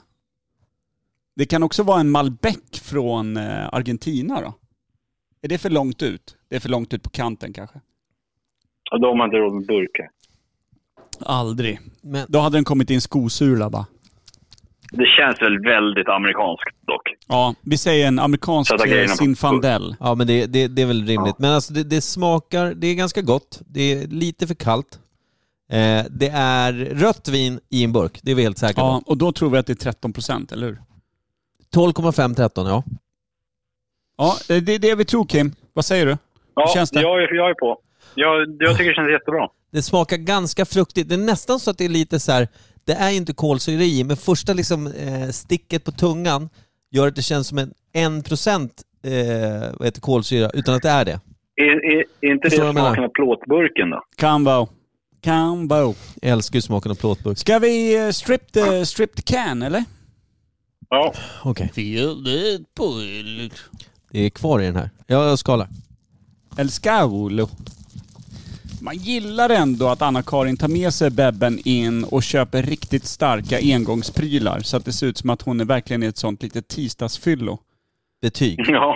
[SPEAKER 2] Det kan också vara en Malbec från eh, Argentina då. Är det för långt ut? Det är för långt ut på kanten kanske.
[SPEAKER 1] Ja, de har inte råd med burkar.
[SPEAKER 2] Aldrig.
[SPEAKER 3] Men,
[SPEAKER 2] Då hade den kommit in skosula va?
[SPEAKER 1] Det känns väl väldigt amerikanskt dock.
[SPEAKER 2] Ja, vi säger en amerikansk
[SPEAKER 1] Sätta
[SPEAKER 2] eh,
[SPEAKER 1] grejerna på-
[SPEAKER 2] Zinfandel.
[SPEAKER 3] Ja men det, det, det är väl rimligt. Men alltså det, det smakar, det är ganska gott. Det är lite för kallt. Eh, det är rött vin i en burk, det är vi helt säkra
[SPEAKER 2] Ja, och då tror vi att det är 13% eller hur?
[SPEAKER 3] på. 12,5-13 ja.
[SPEAKER 2] Ja, det det är det vi tror Kim. Vad säger du?
[SPEAKER 1] Ja,
[SPEAKER 2] Hur känns det?
[SPEAKER 1] Jag, är, jag är på. Jag, jag tycker det känns jättebra.
[SPEAKER 3] Det smakar ganska fruktigt. Det är nästan så att det är lite så här. det är ju inte kolsyra i, men första liksom, eh, sticket på tungan gör att det känns som en 1% eh, vad heter kolsyra, utan att det är det.
[SPEAKER 1] Är, är, är inte det
[SPEAKER 3] Förstår vad jag menar?
[SPEAKER 1] smaken av plåtburken då?
[SPEAKER 2] Kan vara. Kan vara.
[SPEAKER 3] Jag älskar ju smaken av plåtburk.
[SPEAKER 2] Ska vi eh, strip the, strip the can eller?
[SPEAKER 1] Ja.
[SPEAKER 3] Okej. Det är kvar i den här. Jag skalar.
[SPEAKER 2] El Scaulo. Man gillar ändå att Anna-Karin tar med sig Bebben in och köper riktigt starka engångsprylar så att det ser ut som att hon är verkligen i ett sånt litet tisdagsfyllo.
[SPEAKER 3] Betyg.
[SPEAKER 1] Ja.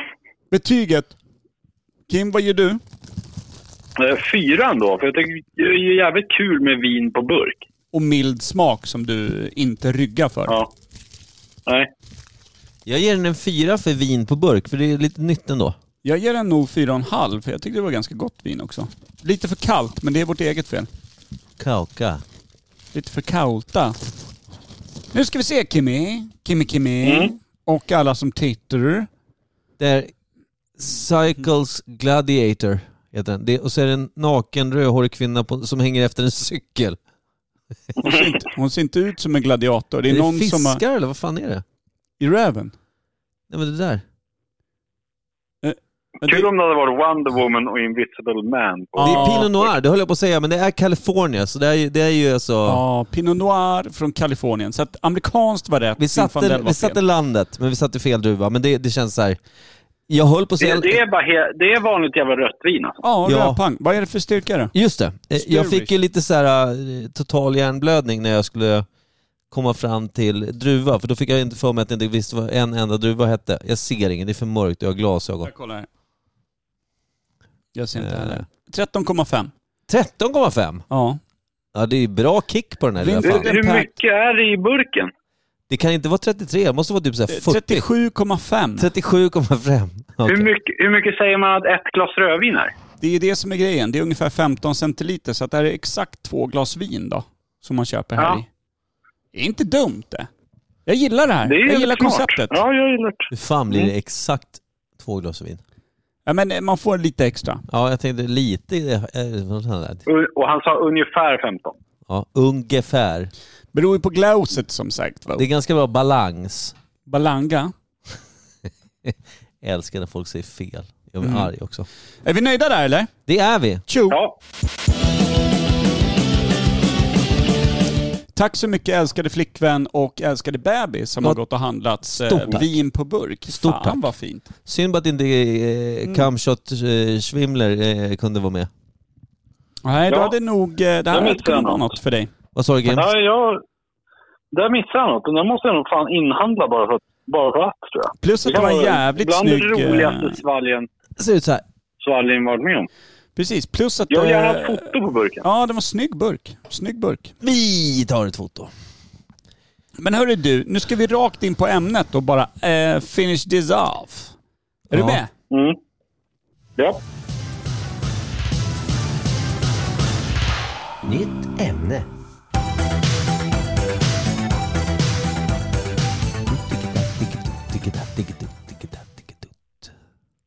[SPEAKER 2] Betyget. Kim, vad ger du?
[SPEAKER 1] Eh, Fyran då, för jag tycker det är ju jävligt kul med vin på burk.
[SPEAKER 2] Och mild smak som du inte ryggar för.
[SPEAKER 1] Ja. Nej.
[SPEAKER 3] Jag ger den en fyra för vin på burk, för det är lite nytt ändå.
[SPEAKER 2] Jag ger den nog 4,5 för jag tyckte det var ganska gott vin också. Lite för kallt, men det är vårt eget fel.
[SPEAKER 3] Kauka.
[SPEAKER 2] Lite för kalta. Nu ska vi se Kimmy, Kimmy Kimmy
[SPEAKER 1] Mm.
[SPEAKER 2] och alla som tittar.
[SPEAKER 3] Det är Cycles Gladiator, heter den. Det, och så är det en naken rödhårig kvinna på, som hänger efter en cykel.
[SPEAKER 2] Hon ser inte ut som en gladiator. Det är, någon
[SPEAKER 3] fiskar
[SPEAKER 2] som har...
[SPEAKER 3] eller vad fan är det?
[SPEAKER 2] I röven?
[SPEAKER 3] Nej men det där.
[SPEAKER 2] Men
[SPEAKER 1] Kul
[SPEAKER 2] det-
[SPEAKER 1] om det hade varit Wonder Woman och Invisible Man.
[SPEAKER 2] Ja.
[SPEAKER 1] På.
[SPEAKER 3] Det är Pinot Noir, det höll jag på att säga, men det är California, så det är, ju- det är ju alltså...
[SPEAKER 2] Ja, Pinot Noir från Kalifornien. Så att amerikanskt var rätt,
[SPEAKER 3] Vi satte,
[SPEAKER 2] Zinfandel var
[SPEAKER 3] vi satte
[SPEAKER 2] fel.
[SPEAKER 3] landet, men vi satte fel druva. Men det, det känns så här. Jag höll på att säga...
[SPEAKER 1] Det, det, är bara he- det är vanligt jävla rött vin alltså.
[SPEAKER 2] Ja,
[SPEAKER 3] Ja.
[SPEAKER 2] rödpang. Vad är det för styrka då?
[SPEAKER 3] Just det. Eh, Jag fick ju
[SPEAKER 2] Spearwish.
[SPEAKER 3] lite så här eh, total hjärnblödning när jag skulle komma fram till druva, för då fick jag inte för mig att jag inte visste vad en enda druva hette. Jag ser ingen, det är för mörkt och jag har glasögon.
[SPEAKER 2] Jag kollar här. Jag ser inte
[SPEAKER 3] Eh.
[SPEAKER 2] heller. 13,5.
[SPEAKER 3] 13,5!
[SPEAKER 2] Ja.
[SPEAKER 3] Ja det är ju bra kick på den här lilla
[SPEAKER 2] Vinst-
[SPEAKER 3] fan.
[SPEAKER 2] en
[SPEAKER 1] Hur
[SPEAKER 2] pack.
[SPEAKER 1] mycket är det i burken?
[SPEAKER 3] Det kan inte vara 33, det måste vara typ
[SPEAKER 1] Eh,
[SPEAKER 3] så här 40.
[SPEAKER 2] 37,5.
[SPEAKER 3] 37,5. Okej.
[SPEAKER 1] Hur, mycket, hur mycket säger man att ett glas rödvin är?
[SPEAKER 2] Det är det som är grejen. Det är ungefär 15 centiliter, så att det här är exakt två glas vin då, som man köper här
[SPEAKER 1] Ja.
[SPEAKER 2] i. Det är inte dumt det. Jag gillar det här.
[SPEAKER 1] Det är
[SPEAKER 2] jag
[SPEAKER 1] jävligt
[SPEAKER 2] gillar
[SPEAKER 1] smart.
[SPEAKER 2] konceptet. Ja.
[SPEAKER 1] Ja, jag gillar det.
[SPEAKER 3] Hur fan blir det
[SPEAKER 1] Mm.
[SPEAKER 3] exakt två glas vin?
[SPEAKER 2] men eh, man får lite extra.
[SPEAKER 3] Ja, jag tänkte lite... eh, vad fan är det?
[SPEAKER 1] U- Och han sa ungefär 15.
[SPEAKER 3] Ja, ungefär.
[SPEAKER 2] Beror ju på glaset som sagt. Va?
[SPEAKER 3] Det är ganska bra balans.
[SPEAKER 2] Balanga.
[SPEAKER 3] Jag älskar när folk säger fel. Jag
[SPEAKER 1] Mm.
[SPEAKER 3] blir arg också.
[SPEAKER 2] Är vi nöjda där eller?
[SPEAKER 3] Det är vi.
[SPEAKER 2] Tjo!
[SPEAKER 1] Ja,
[SPEAKER 2] Tack så mycket älskade flickvän och älskade bebis som
[SPEAKER 3] Ja.
[SPEAKER 2] har gått och handlat
[SPEAKER 3] Stort
[SPEAKER 2] eh,
[SPEAKER 3] tack.
[SPEAKER 2] vin på burk.
[SPEAKER 3] Stort
[SPEAKER 2] Fan
[SPEAKER 3] tack.
[SPEAKER 2] vad fint.
[SPEAKER 3] Synd bara att inte eh,
[SPEAKER 1] Mm.
[SPEAKER 3] Kamshot eh, Schwimler eh, kunde vara med.
[SPEAKER 2] Nej, då
[SPEAKER 1] Ja.
[SPEAKER 2] hade nog... eh, Det här
[SPEAKER 1] Jag
[SPEAKER 2] hade
[SPEAKER 1] missade
[SPEAKER 2] kunnat vara
[SPEAKER 1] något.
[SPEAKER 2] något för dig.
[SPEAKER 3] Vad sa du Kim?
[SPEAKER 1] ja jag, där missade jag något. Den där måste jag nog fan inhandla bara för, bara för att, tror jag.
[SPEAKER 2] Plus att det var en
[SPEAKER 1] vara
[SPEAKER 2] jävligt
[SPEAKER 1] bland
[SPEAKER 2] snygg...
[SPEAKER 1] det
[SPEAKER 2] eh,
[SPEAKER 1] roligaste svalgen,
[SPEAKER 3] Det ser ut så här.
[SPEAKER 1] svalgen varit med om.
[SPEAKER 2] Precis, plus att...
[SPEAKER 1] Jag vill gärna ha
[SPEAKER 2] eh,
[SPEAKER 1] ett foto på burken.
[SPEAKER 2] Ja, det var snygg burk. Snygg burk.
[SPEAKER 3] Vi tar ett foto.
[SPEAKER 2] Men hörru du, nu ska vi rakt in på ämnet och bara eh, finish this off. Är
[SPEAKER 3] Ja.
[SPEAKER 2] du med?
[SPEAKER 1] Mm. Ja.
[SPEAKER 5] Nytt ämne.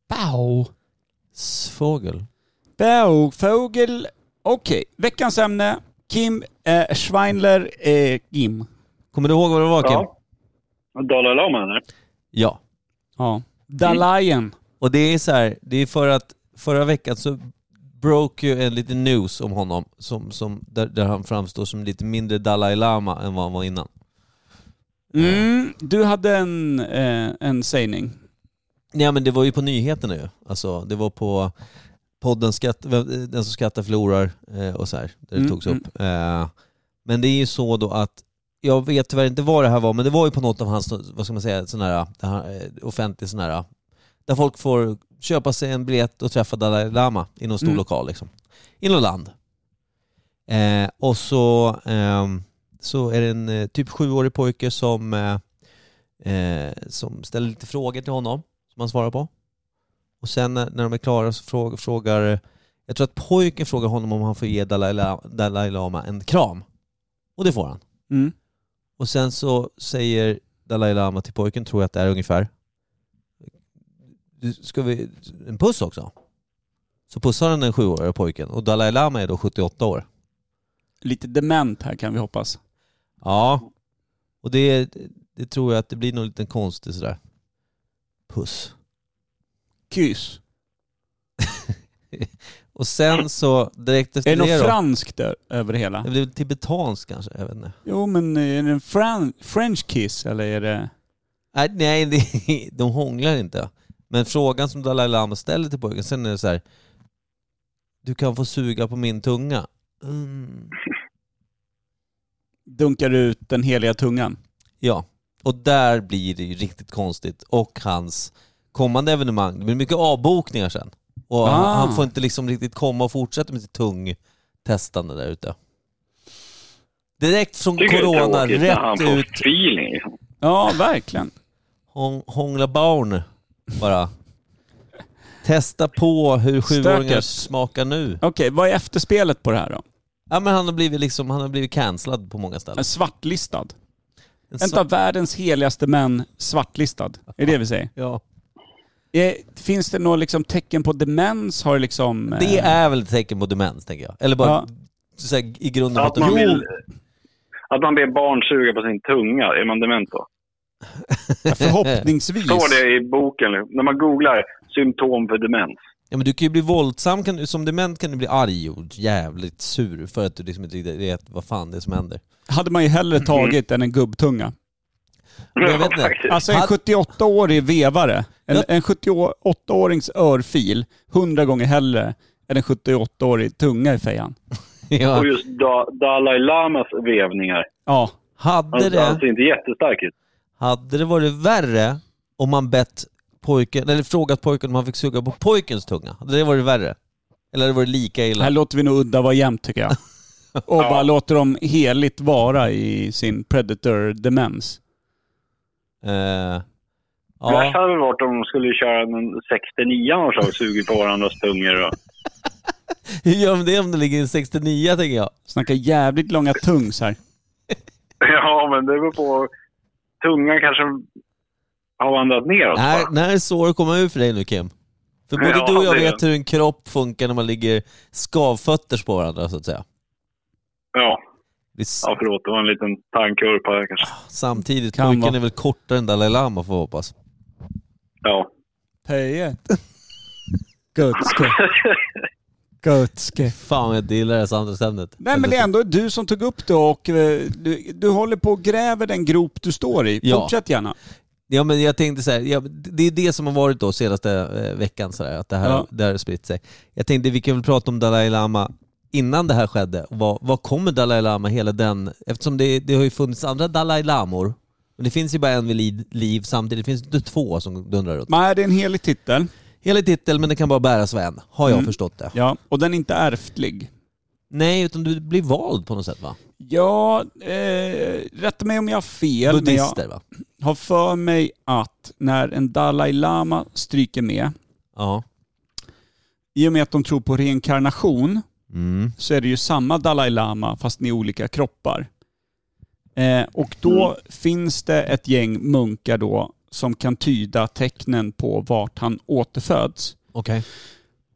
[SPEAKER 2] Bow.
[SPEAKER 3] Fågel.
[SPEAKER 2] Bow, fågel. Okej, veckans ämne. Kim eh, Schweinler eh, Kim.
[SPEAKER 3] Kommer du ihåg vad det var Kim?
[SPEAKER 1] ja. Dalai Lama, eller?
[SPEAKER 3] ja.
[SPEAKER 2] Ja. Dalajen.
[SPEAKER 3] Och det är så här, det är för att förra veckan så broke ju en liten news om honom som, som, där, där han framstår som lite mindre Dalai Lama än vad han var innan.
[SPEAKER 2] Mm, du hade en, eh, en sägning.
[SPEAKER 3] Nej men det var ju på nyheterna ju. Alltså det var på podden skatt, Den som skrattar förlorar eh, och så här, där det
[SPEAKER 2] Mm,
[SPEAKER 3] togs upp. Eh, Men det är ju så då att, jag vet tyvärr inte vad det här var, men det var ju på något av hans, vad ska man säga, sån här, det här, eh, offentlig sån här, där folk får köpa sig en biljett och träffa Dalai Lama i någon stor
[SPEAKER 2] Mm.
[SPEAKER 3] lokal liksom. I något land. Eh, och så, ehm, så är det en eh, typ sjuårig pojke som, eh, eh, som ställer lite frågor till honom som han svarar på. Och sen när, när de är klara så frågar, frågar jag tror att pojken frågar honom om han får ge Dalai Lama, Dalai Lama en kram. Och det får han.
[SPEAKER 2] Mm.
[SPEAKER 3] Och sen så säger Dalai Lama till pojken, tror jag att det är ungefär. "Du, Ska vi, en puss också? Så pussar han den sjuåriga pojken och Dalai Lama är då 78 år.
[SPEAKER 2] Lite dement här kan vi hoppas.
[SPEAKER 3] Ja. Och det, det tror jag att det blir någon liten konstig sådär puss.
[SPEAKER 2] Kyss.
[SPEAKER 3] Och sen så direkt efter
[SPEAKER 2] Är det
[SPEAKER 3] det,
[SPEAKER 2] något
[SPEAKER 3] då,
[SPEAKER 2] franskt där, över det hela?
[SPEAKER 3] det blir tibetanskt kanske, jag vet inte.
[SPEAKER 2] Jo men eh, är det en fran- french kiss eller är det...
[SPEAKER 3] Nej, nej det, de hånglar inte. Men frågan som Dalai Lama ställer till pojken, sen är det så här. Du kan få suga på min tunga. Mm.
[SPEAKER 2] Dunkar ut den heliga tungan.
[SPEAKER 3] Ja, och där blir det ju riktigt konstigt. Och hans kommande evenemang, det blir mycket avbokningar sen. Och han,
[SPEAKER 2] Ah.
[SPEAKER 3] han får inte liksom riktigt komma och fortsätta med sitt tungtestande där ute. Direkt från
[SPEAKER 1] Tycker jag är
[SPEAKER 3] corona,
[SPEAKER 1] tråkigt när han
[SPEAKER 3] rätt
[SPEAKER 1] får
[SPEAKER 3] ut,
[SPEAKER 1] feeling. liksom.
[SPEAKER 2] Ja, verkligen.
[SPEAKER 3] hång, hångla barn bara. Testa på hur sjuåringar
[SPEAKER 2] Stöket.
[SPEAKER 3] smakar nu.
[SPEAKER 2] Okej, vad är efterspelet på det här då?
[SPEAKER 3] Ja men han har blivit liksom, han har blivit cancellad på många
[SPEAKER 2] En
[SPEAKER 3] ställen.
[SPEAKER 2] Svartlistad.
[SPEAKER 3] En
[SPEAKER 2] En
[SPEAKER 3] svart-
[SPEAKER 2] av världens heligaste män svartlistad. Är det det vi säger?
[SPEAKER 3] ja.
[SPEAKER 2] Eh, Finns det några liksom tecken på demens? Har det liksom... eh,
[SPEAKER 3] Det är väl ett tecken på demens tänker jag. Eller bara
[SPEAKER 2] Ja.
[SPEAKER 3] så här, i grunden
[SPEAKER 1] Att man, vill, att man ber barn suga på sin tunga, är man dement då?
[SPEAKER 2] Förhoppningsvis.
[SPEAKER 1] Står det i boken, liksom. när man googlar symptom för demens.
[SPEAKER 3] Ja men du kan ju bli våldsam, kan, du- som dement kan du bli arg och jävligt sur för att du liksom inte riktigt vet vad fan det är som händer.
[SPEAKER 2] Hade man ju hellre tagit än en gubbtunga.
[SPEAKER 3] Men jag vet inte.
[SPEAKER 1] Faktiskt.
[SPEAKER 2] Alltså en
[SPEAKER 3] Hade-
[SPEAKER 2] 78-årig vevare. En,
[SPEAKER 3] Jag-
[SPEAKER 2] en 78-årings örfil. Hundra gånger hellre än en 78-årig tunga i fejan.
[SPEAKER 3] Ja.
[SPEAKER 1] Och just da, Dalai Lamas vevningar.
[SPEAKER 2] Ja.
[SPEAKER 1] Han,
[SPEAKER 3] Hade,
[SPEAKER 1] han
[SPEAKER 3] det,
[SPEAKER 1] ser Alltså, inte jättestark ut.
[SPEAKER 3] hade det varit värre om man bett pojken, eller frågat pojken om han fick suga på pojkens tunga? Hade det varit värre? Eller hade det varit lika
[SPEAKER 2] Här
[SPEAKER 3] illa?
[SPEAKER 2] låter vi nog udda vara jämnt tycker jag. Och bara låter dem heligt vara i sin predator-demens.
[SPEAKER 3] Eh,
[SPEAKER 1] Värst
[SPEAKER 3] ja.
[SPEAKER 1] hade väl varit om de skulle köra en 69 och så och sugit på varandras tungor. Och...
[SPEAKER 3] Hur gör de det om det ligger en 69 tänker jag?
[SPEAKER 2] Snackar jävligt långa tungs här.
[SPEAKER 1] Ja, men det beror på. Tungan kanske har vandrat neråt.
[SPEAKER 3] När,
[SPEAKER 1] bara.
[SPEAKER 3] när är sår kommer ut för dig nu Kim? För både
[SPEAKER 1] Ja,
[SPEAKER 3] du och jag
[SPEAKER 1] det-
[SPEAKER 3] vet hur en kropp funkar när man ligger skavfötters på varandra så att säga.
[SPEAKER 1] Ja.
[SPEAKER 3] Det är s-
[SPEAKER 1] ja, förlåt. Det var en liten tankeurpa här kanske.
[SPEAKER 3] Samtidigt,
[SPEAKER 2] Kan
[SPEAKER 3] pojken
[SPEAKER 2] vara.
[SPEAKER 3] är väl kortare än Dalai Lama får vi hoppas.
[SPEAKER 1] Ja.
[SPEAKER 2] Pejet. Gutske. Gutske.
[SPEAKER 3] Fan jag gillar det här samtalsämnet.
[SPEAKER 2] Nej men det är ändå du som tog upp det och eh, du, du håller på och gräver den grop du står i.
[SPEAKER 3] Ja.
[SPEAKER 2] Fortsätt gärna.
[SPEAKER 3] Ja men jag tänkte så här, ja, det är det som har varit då senaste eh, veckan så här, att det här,
[SPEAKER 2] Ja.
[SPEAKER 3] det här har spritt sig. Jag tänkte vi kan väl prata om Dalai Lama innan det här skedde. Vad, vad kommer Dalai Lama, hela den, eftersom det, det har ju funnits andra Dalai Lamor, men det finns ju bara en vid liv, liv samtidigt, det finns inte två som dundrar runt.
[SPEAKER 2] Nej det är en helig titel.
[SPEAKER 3] Hela titeln men det kan bara bäras av en, har jag
[SPEAKER 2] Mm.
[SPEAKER 3] förstått det.
[SPEAKER 2] Ja. Och den är inte ärftlig.
[SPEAKER 3] Nej, utan du blir vald på något sätt va?
[SPEAKER 2] Ja, eh, rätta mig om jag har fel. men jag-
[SPEAKER 3] Buddhister va?
[SPEAKER 2] har för mig att när en Dalai Lama stryker med,
[SPEAKER 3] Ja.
[SPEAKER 2] i och med att de tror på reinkarnation,
[SPEAKER 3] Mm.
[SPEAKER 2] så är det ju samma Dalai Lama fast i olika kroppar. Eh, och då finns det ett gäng munkar då som kan tyda tecknen på vart han återföds.
[SPEAKER 3] Okej.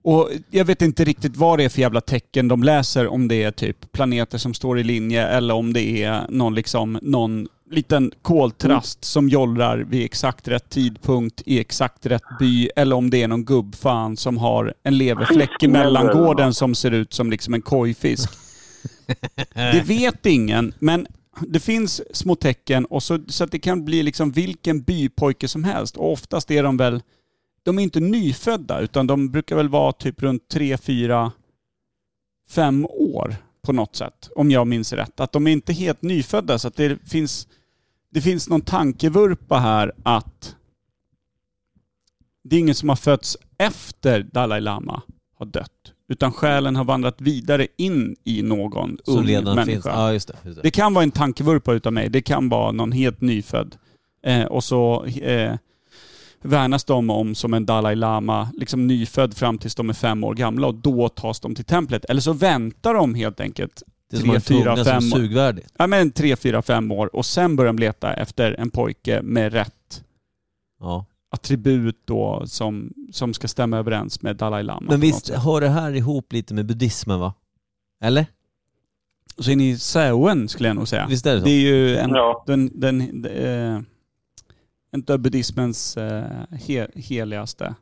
[SPEAKER 2] Och jag vet inte riktigt vad det är för jävla tecken de läser, om det är typ planeter som står i linje eller om det är någon, liksom, någon liten koltrast som jollrar vid exakt rätt tidpunkt i exakt rätt by eller om det är någon gubbfan som har en leverfläck i mellangården som ser ut som liksom en kojfisk. Det vet ingen, men det finns små tecken och så, så att det kan bli liksom vilken bypojke som helst. Och oftast är de väl, de är inte nyfödda utan de brukar väl vara typ runt tre, fyra, fem år på något sätt. Om jag minns rätt. Att de är inte helt nyfödda så att det finns, det finns någon tankevurpa här att det är ingen som har fötts efter Dalai Lama har dött. Utan själen har vandrat vidare in i någon
[SPEAKER 3] Som
[SPEAKER 2] ung
[SPEAKER 3] redan
[SPEAKER 2] människa.
[SPEAKER 3] finns. Ja, just det. Just det.
[SPEAKER 2] Det kan vara en tankevurpa utav mig. Det kan vara någon helt nyfödd. Eh, och så eh, värnas de om som en Dalai Lama, liksom nyfödd fram tills de är fem år gamla och då tas de till templet. Eller så väntar de helt enkelt
[SPEAKER 3] Det är som
[SPEAKER 2] tre,
[SPEAKER 3] en
[SPEAKER 2] fyra,
[SPEAKER 3] tunga som
[SPEAKER 2] fem år.
[SPEAKER 3] sugvärdig.
[SPEAKER 2] ja, men tre, fyra, fem år och sen börjar de leta efter en pojke med rätt
[SPEAKER 3] Ja.
[SPEAKER 2] attribut då som, som ska stämma överens med Dalai Lama.
[SPEAKER 3] Men
[SPEAKER 2] på något
[SPEAKER 3] visst
[SPEAKER 2] sätt.
[SPEAKER 3] hör det här ihop lite med buddhismen va? Eller?
[SPEAKER 2] Så in i Säuen skulle jag nog säga.
[SPEAKER 3] Visst är det så?
[SPEAKER 2] Det är ju en,
[SPEAKER 1] Ja.
[SPEAKER 2] den, den, eh, en av buddhismens eh, he, heligaste.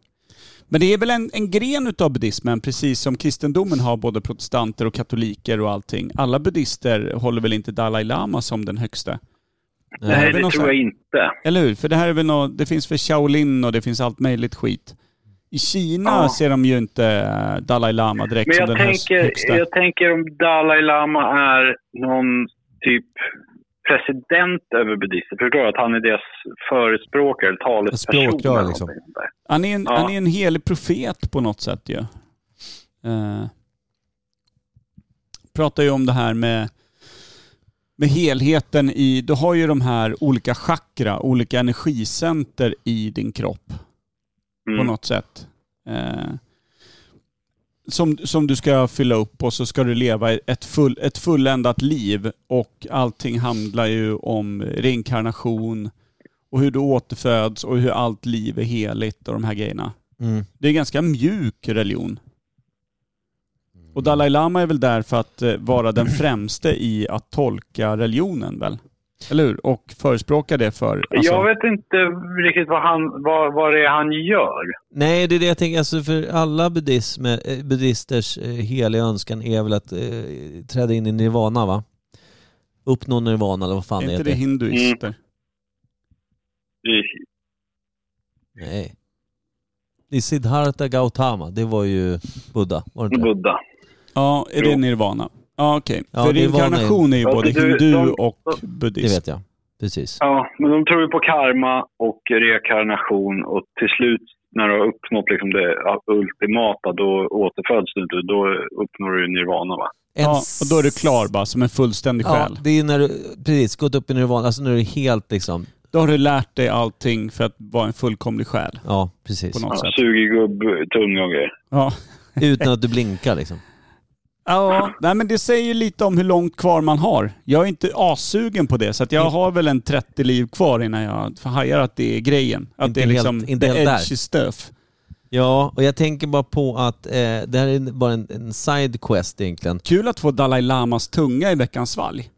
[SPEAKER 2] Men det är väl en, en gren utav buddhismen, precis som kristendomen har både protestanter och katoliker och allting. Alla buddhister håller väl inte Dalai Lama som den högste?
[SPEAKER 3] Ja,
[SPEAKER 1] Nej,
[SPEAKER 2] det är
[SPEAKER 1] det
[SPEAKER 2] någon
[SPEAKER 1] tror
[SPEAKER 2] sak.
[SPEAKER 1] jag inte.
[SPEAKER 2] Eller hur? För det här är väl något, det finns för Shaolin och det finns allt möjligt skit. I Kina
[SPEAKER 1] Ja.
[SPEAKER 2] ser de ju inte eh, Dalai Lama direkt
[SPEAKER 1] Men
[SPEAKER 2] som
[SPEAKER 1] jag
[SPEAKER 2] den här
[SPEAKER 1] tänker,
[SPEAKER 2] högsta.
[SPEAKER 1] jag tänker om Dalai Lama är någon typ president över buddister. Förstår du? Att han är deras förespråkare, talesperson. eller
[SPEAKER 3] Språkrör, liksom.
[SPEAKER 1] någonting sånt där.
[SPEAKER 2] Han, är en,
[SPEAKER 1] Ja.
[SPEAKER 2] han är en helig profet på något sätt ju. Eh, pratar ju om det här med, med helheten i... Du har ju de här olika chakra, olika energicenter i din kropp
[SPEAKER 1] Mm.
[SPEAKER 2] på något sätt. Eh, som, som du ska fylla upp och så ska du leva ett, full, ett fulländat liv. Och allting handlar ju om reinkarnation och hur du återföds och hur allt liv är heligt och de här grejerna.
[SPEAKER 3] Mm.
[SPEAKER 2] Det är ganska mjuk religion.
[SPEAKER 3] Mm.
[SPEAKER 2] Och Dalai Lama är väl där för att eh, vara den främste i att tolka religionen väl? Eller hur? Och förespråka det för... alltså-
[SPEAKER 1] Jag vet inte riktigt vad, han, vad, vad det är han gör.
[SPEAKER 3] Nej, det är det jag tänker. Alltså för alla buddhismer, eh, buddhisters eh, heliga önskan är väl att eh, träda in i nirvana, va? Uppnå nirvana eller vad fan
[SPEAKER 2] är
[SPEAKER 3] det
[SPEAKER 2] inte det
[SPEAKER 3] heter.
[SPEAKER 2] hinduister?
[SPEAKER 1] Mm. I-
[SPEAKER 3] Nej. Det är Siddhartha Gautama. Det var ju Buddha, var det inte? det?
[SPEAKER 1] Buddha.
[SPEAKER 2] Ja, är det
[SPEAKER 1] Jo.
[SPEAKER 2] nirvana? Ja, okej.
[SPEAKER 3] Ja,
[SPEAKER 2] För
[SPEAKER 3] nirvana är-
[SPEAKER 2] reinkarnation är ju
[SPEAKER 1] Ja,
[SPEAKER 2] både
[SPEAKER 1] du-
[SPEAKER 2] hindu
[SPEAKER 1] de-
[SPEAKER 2] och
[SPEAKER 3] Det
[SPEAKER 2] buddhist.
[SPEAKER 3] vet jag. Precis.
[SPEAKER 1] Ja, men de tror ju på karma och reinkarnation och till slut när du har uppnått liksom det ultimata då återföds du inte. Då uppnår du nirvana va?
[SPEAKER 3] En
[SPEAKER 2] Ja, och då är du klar bara som en fullständig
[SPEAKER 3] Ja,
[SPEAKER 2] själ.
[SPEAKER 3] det är ju när du precis gått upp i nirvana, alltså när du är helt liksom,
[SPEAKER 2] Då har du lärt dig allting för att vara en fullkomlig själ
[SPEAKER 3] ja precis.
[SPEAKER 2] på något
[SPEAKER 1] Ja,
[SPEAKER 2] sätt.
[SPEAKER 1] Sugegubb, tunga och grejer.
[SPEAKER 2] Ja.
[SPEAKER 3] Utan att du blinkar liksom.
[SPEAKER 2] ja, nej men det säger ju lite om hur långt kvar man har. Jag är inte assugen på det så att jag har väl en 30 liv kvar innan jag hajar att det är grejen. Att
[SPEAKER 3] Inte
[SPEAKER 2] det är
[SPEAKER 3] helt-
[SPEAKER 2] liksom
[SPEAKER 3] inte
[SPEAKER 2] the
[SPEAKER 3] helt där.
[SPEAKER 2] edgy stuff.
[SPEAKER 3] Ja, och jag tänker bara på att eh, det här är bara en, en side quest egentligen.
[SPEAKER 2] Kul att få Dalai Lamas tunga i veckans svalg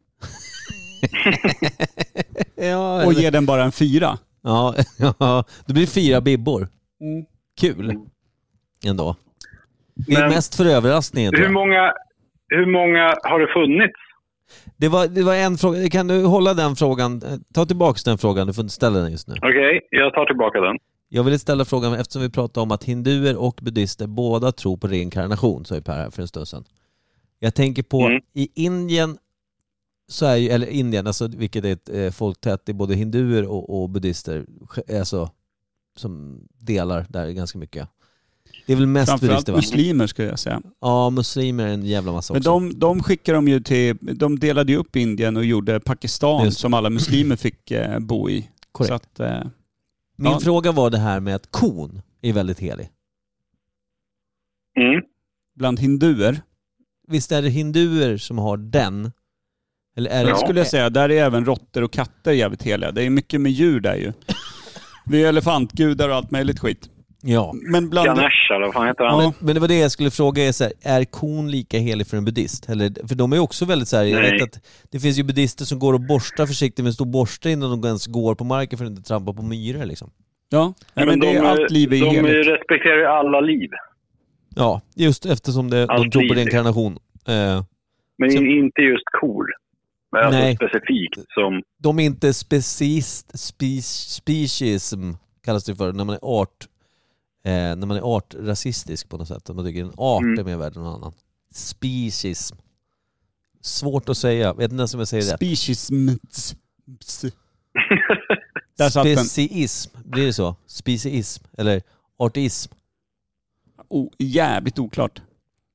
[SPEAKER 3] Ja,
[SPEAKER 2] och ge den bara en fyra.
[SPEAKER 3] ja, ja, det blir fyra bibbor. Kul. Ändå. Det är
[SPEAKER 1] Men-
[SPEAKER 3] mest för överraskningen tror
[SPEAKER 1] Hur
[SPEAKER 3] jag.
[SPEAKER 1] många, hur många har det funnits?
[SPEAKER 3] Det var, det var en fråga, kan du hålla den frågan? Eh, Ta tillbaka den frågan, du får inte ställa den just nu.
[SPEAKER 1] Okej, jag tar tillbaka den.
[SPEAKER 3] Jag ville ställa frågan eftersom vi pratade om att hinduer och buddhister båda tror på reinkarnation, sa ju Per här för en stund sedan. Jag tänker på,
[SPEAKER 1] Mm.
[SPEAKER 3] i Indien, så är ju, eller Indien, alltså, vilket är ett eh, folktätt, det är både hinduer och, och buddhister alltså, som delar där ganska mycket. Det är väl mest
[SPEAKER 2] Framförallt
[SPEAKER 3] buddhister va?
[SPEAKER 2] muslimer skulle jag säga.
[SPEAKER 3] Ja, muslimer är en jävla massa
[SPEAKER 2] Men
[SPEAKER 3] också.
[SPEAKER 2] de, de skickade de ju till, de delade ju upp Indien och gjorde Pakistan
[SPEAKER 3] Just det.
[SPEAKER 2] som alla muslimer fick eh, bo i.
[SPEAKER 3] Korrekt.
[SPEAKER 2] Så att, eh,
[SPEAKER 3] Min
[SPEAKER 2] ja.
[SPEAKER 3] fråga var det här med att kon är väldigt helig.
[SPEAKER 1] Mm.
[SPEAKER 2] bland hinduer,
[SPEAKER 3] Visst är det hinduer som har den? Eller är det,
[SPEAKER 1] Ja.
[SPEAKER 2] skulle jag säga, där är även råttor och katter jävligt heliga. Det är mycket med djur där ju. Vi är elefantgudar och allt möjligt skit.
[SPEAKER 3] Ja.
[SPEAKER 2] Men bland...
[SPEAKER 1] Ganesh eller vad fan heter han?
[SPEAKER 2] Ja.
[SPEAKER 3] Men, men det var det jag skulle fråga, är, så här, är kon lika helig för en buddhist? Eller, för de är ju också väldigt så här, jag
[SPEAKER 1] Nej.
[SPEAKER 3] vet att det finns ju buddister som går och borstar försiktigt med en stor borste innan de ens går på marken för att inte trampa på myror liksom.
[SPEAKER 2] Ja, Nej, men, det är, allt liv är
[SPEAKER 1] de
[SPEAKER 2] heligt.
[SPEAKER 1] respekterar ju alla liv.
[SPEAKER 3] Ja, just eftersom det, de
[SPEAKER 1] Allt
[SPEAKER 3] tror
[SPEAKER 1] liv.
[SPEAKER 3] på reinkarnation. Eh,
[SPEAKER 1] Men
[SPEAKER 3] Så-
[SPEAKER 1] in, inte just kor. Men alltså
[SPEAKER 3] Nej.
[SPEAKER 1] specifikt som...
[SPEAKER 3] de är inte specist, spec- speciesm kallas det för, när man är art eh, när man är artrasistisk på något sätt. Att man tycker en art
[SPEAKER 1] Mm.
[SPEAKER 3] är mer värd än någon annan. Speciesm. Svårt att säga, vet inte ens om jag säger rätt.
[SPEAKER 2] Speciesm. Där satt den.
[SPEAKER 3] Speciism, blir det så? Speciism eller artism?
[SPEAKER 2] Oh, jävligt oklart.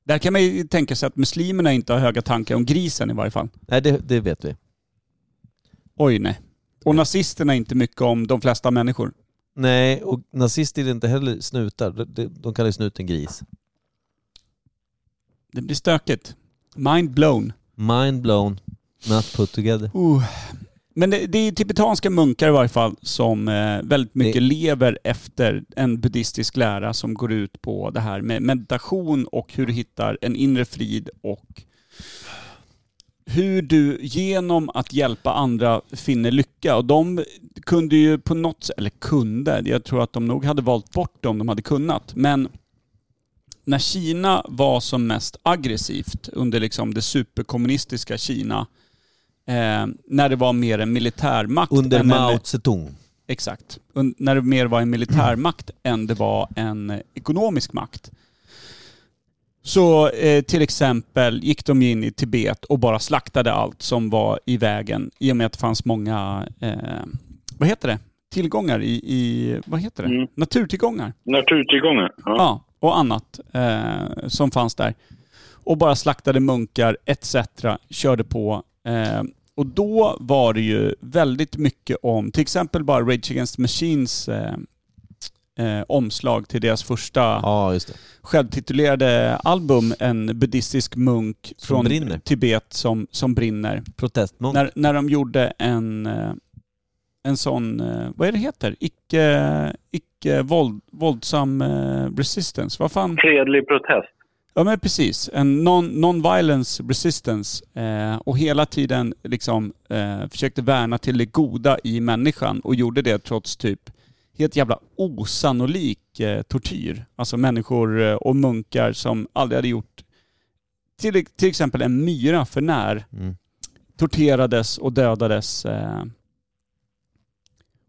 [SPEAKER 2] Där kan man ju tänka sig att muslimerna inte har höga tankar om grisen i varje fall.
[SPEAKER 3] Nej, det, det vet vi.
[SPEAKER 2] Oj nej. Och nazisterna är inte mycket om de flesta människor.
[SPEAKER 3] Nej, och nazister är inte heller snutar. De- De, de kallar ju snuten gris.
[SPEAKER 2] Det blir stökigt. Mind blown.
[SPEAKER 3] Mind blown, not put together.
[SPEAKER 2] Uh. Men det, det är tibetanska munkar i varje fall som eh, väldigt mycket
[SPEAKER 3] Det-
[SPEAKER 2] lever efter en buddhistisk lära som går ut på det här med meditation och hur du hittar en inre frid och hur du genom att hjälpa andra finner lycka. Och de kunde ju på något sätt, eller kunde, jag tror att de nog hade valt bort det om de hade kunnat. Men när Kina var som mest aggressivt under liksom det superkommunistiska Kina, eh, när det var mer en militärmakt
[SPEAKER 3] Under
[SPEAKER 2] än en,
[SPEAKER 3] Mao Zedong.
[SPEAKER 2] Exakt. Och när det mer var en militärmakt än det var en ekonomisk makt. Så eh, till exempel gick de in i Tibet och bara slaktade allt som var i vägen i och med att det fanns många, eh, vad heter det, tillgångar i, i vad heter det,
[SPEAKER 1] Mm.
[SPEAKER 2] naturtillgångar.
[SPEAKER 1] Naturtillgångar. Ja.
[SPEAKER 2] Ja, och annat eh, som fanns där. Och bara slaktade munkar etc. Körde på. Eh, och då var det ju väldigt mycket om till exempel bara Rage Against the Machines eh, eh, omslag till deras första
[SPEAKER 3] Ja, just det.
[SPEAKER 2] självtitulerade album. En buddhistisk munk
[SPEAKER 3] Som
[SPEAKER 2] från
[SPEAKER 3] brinner.
[SPEAKER 2] Tibet som, som brinner.
[SPEAKER 3] Protestmång.
[SPEAKER 2] När, när de gjorde en, eh, en sån, eh, vad är det heter? Icke, icke våld, våldsam eh, resistance. Vad fan?
[SPEAKER 1] Fredlig protest.
[SPEAKER 2] Ja men precis. En non- non-violence resistance. Eh, och hela tiden liksom eh, försökte värna till det goda i människan och gjorde det trots typ helt jävla osannolik eh, tortyr. Alltså människor eh, och munkar som aldrig hade gjort till, till exempel en myra för när
[SPEAKER 3] Mm.
[SPEAKER 2] torterades och dödades. Eh.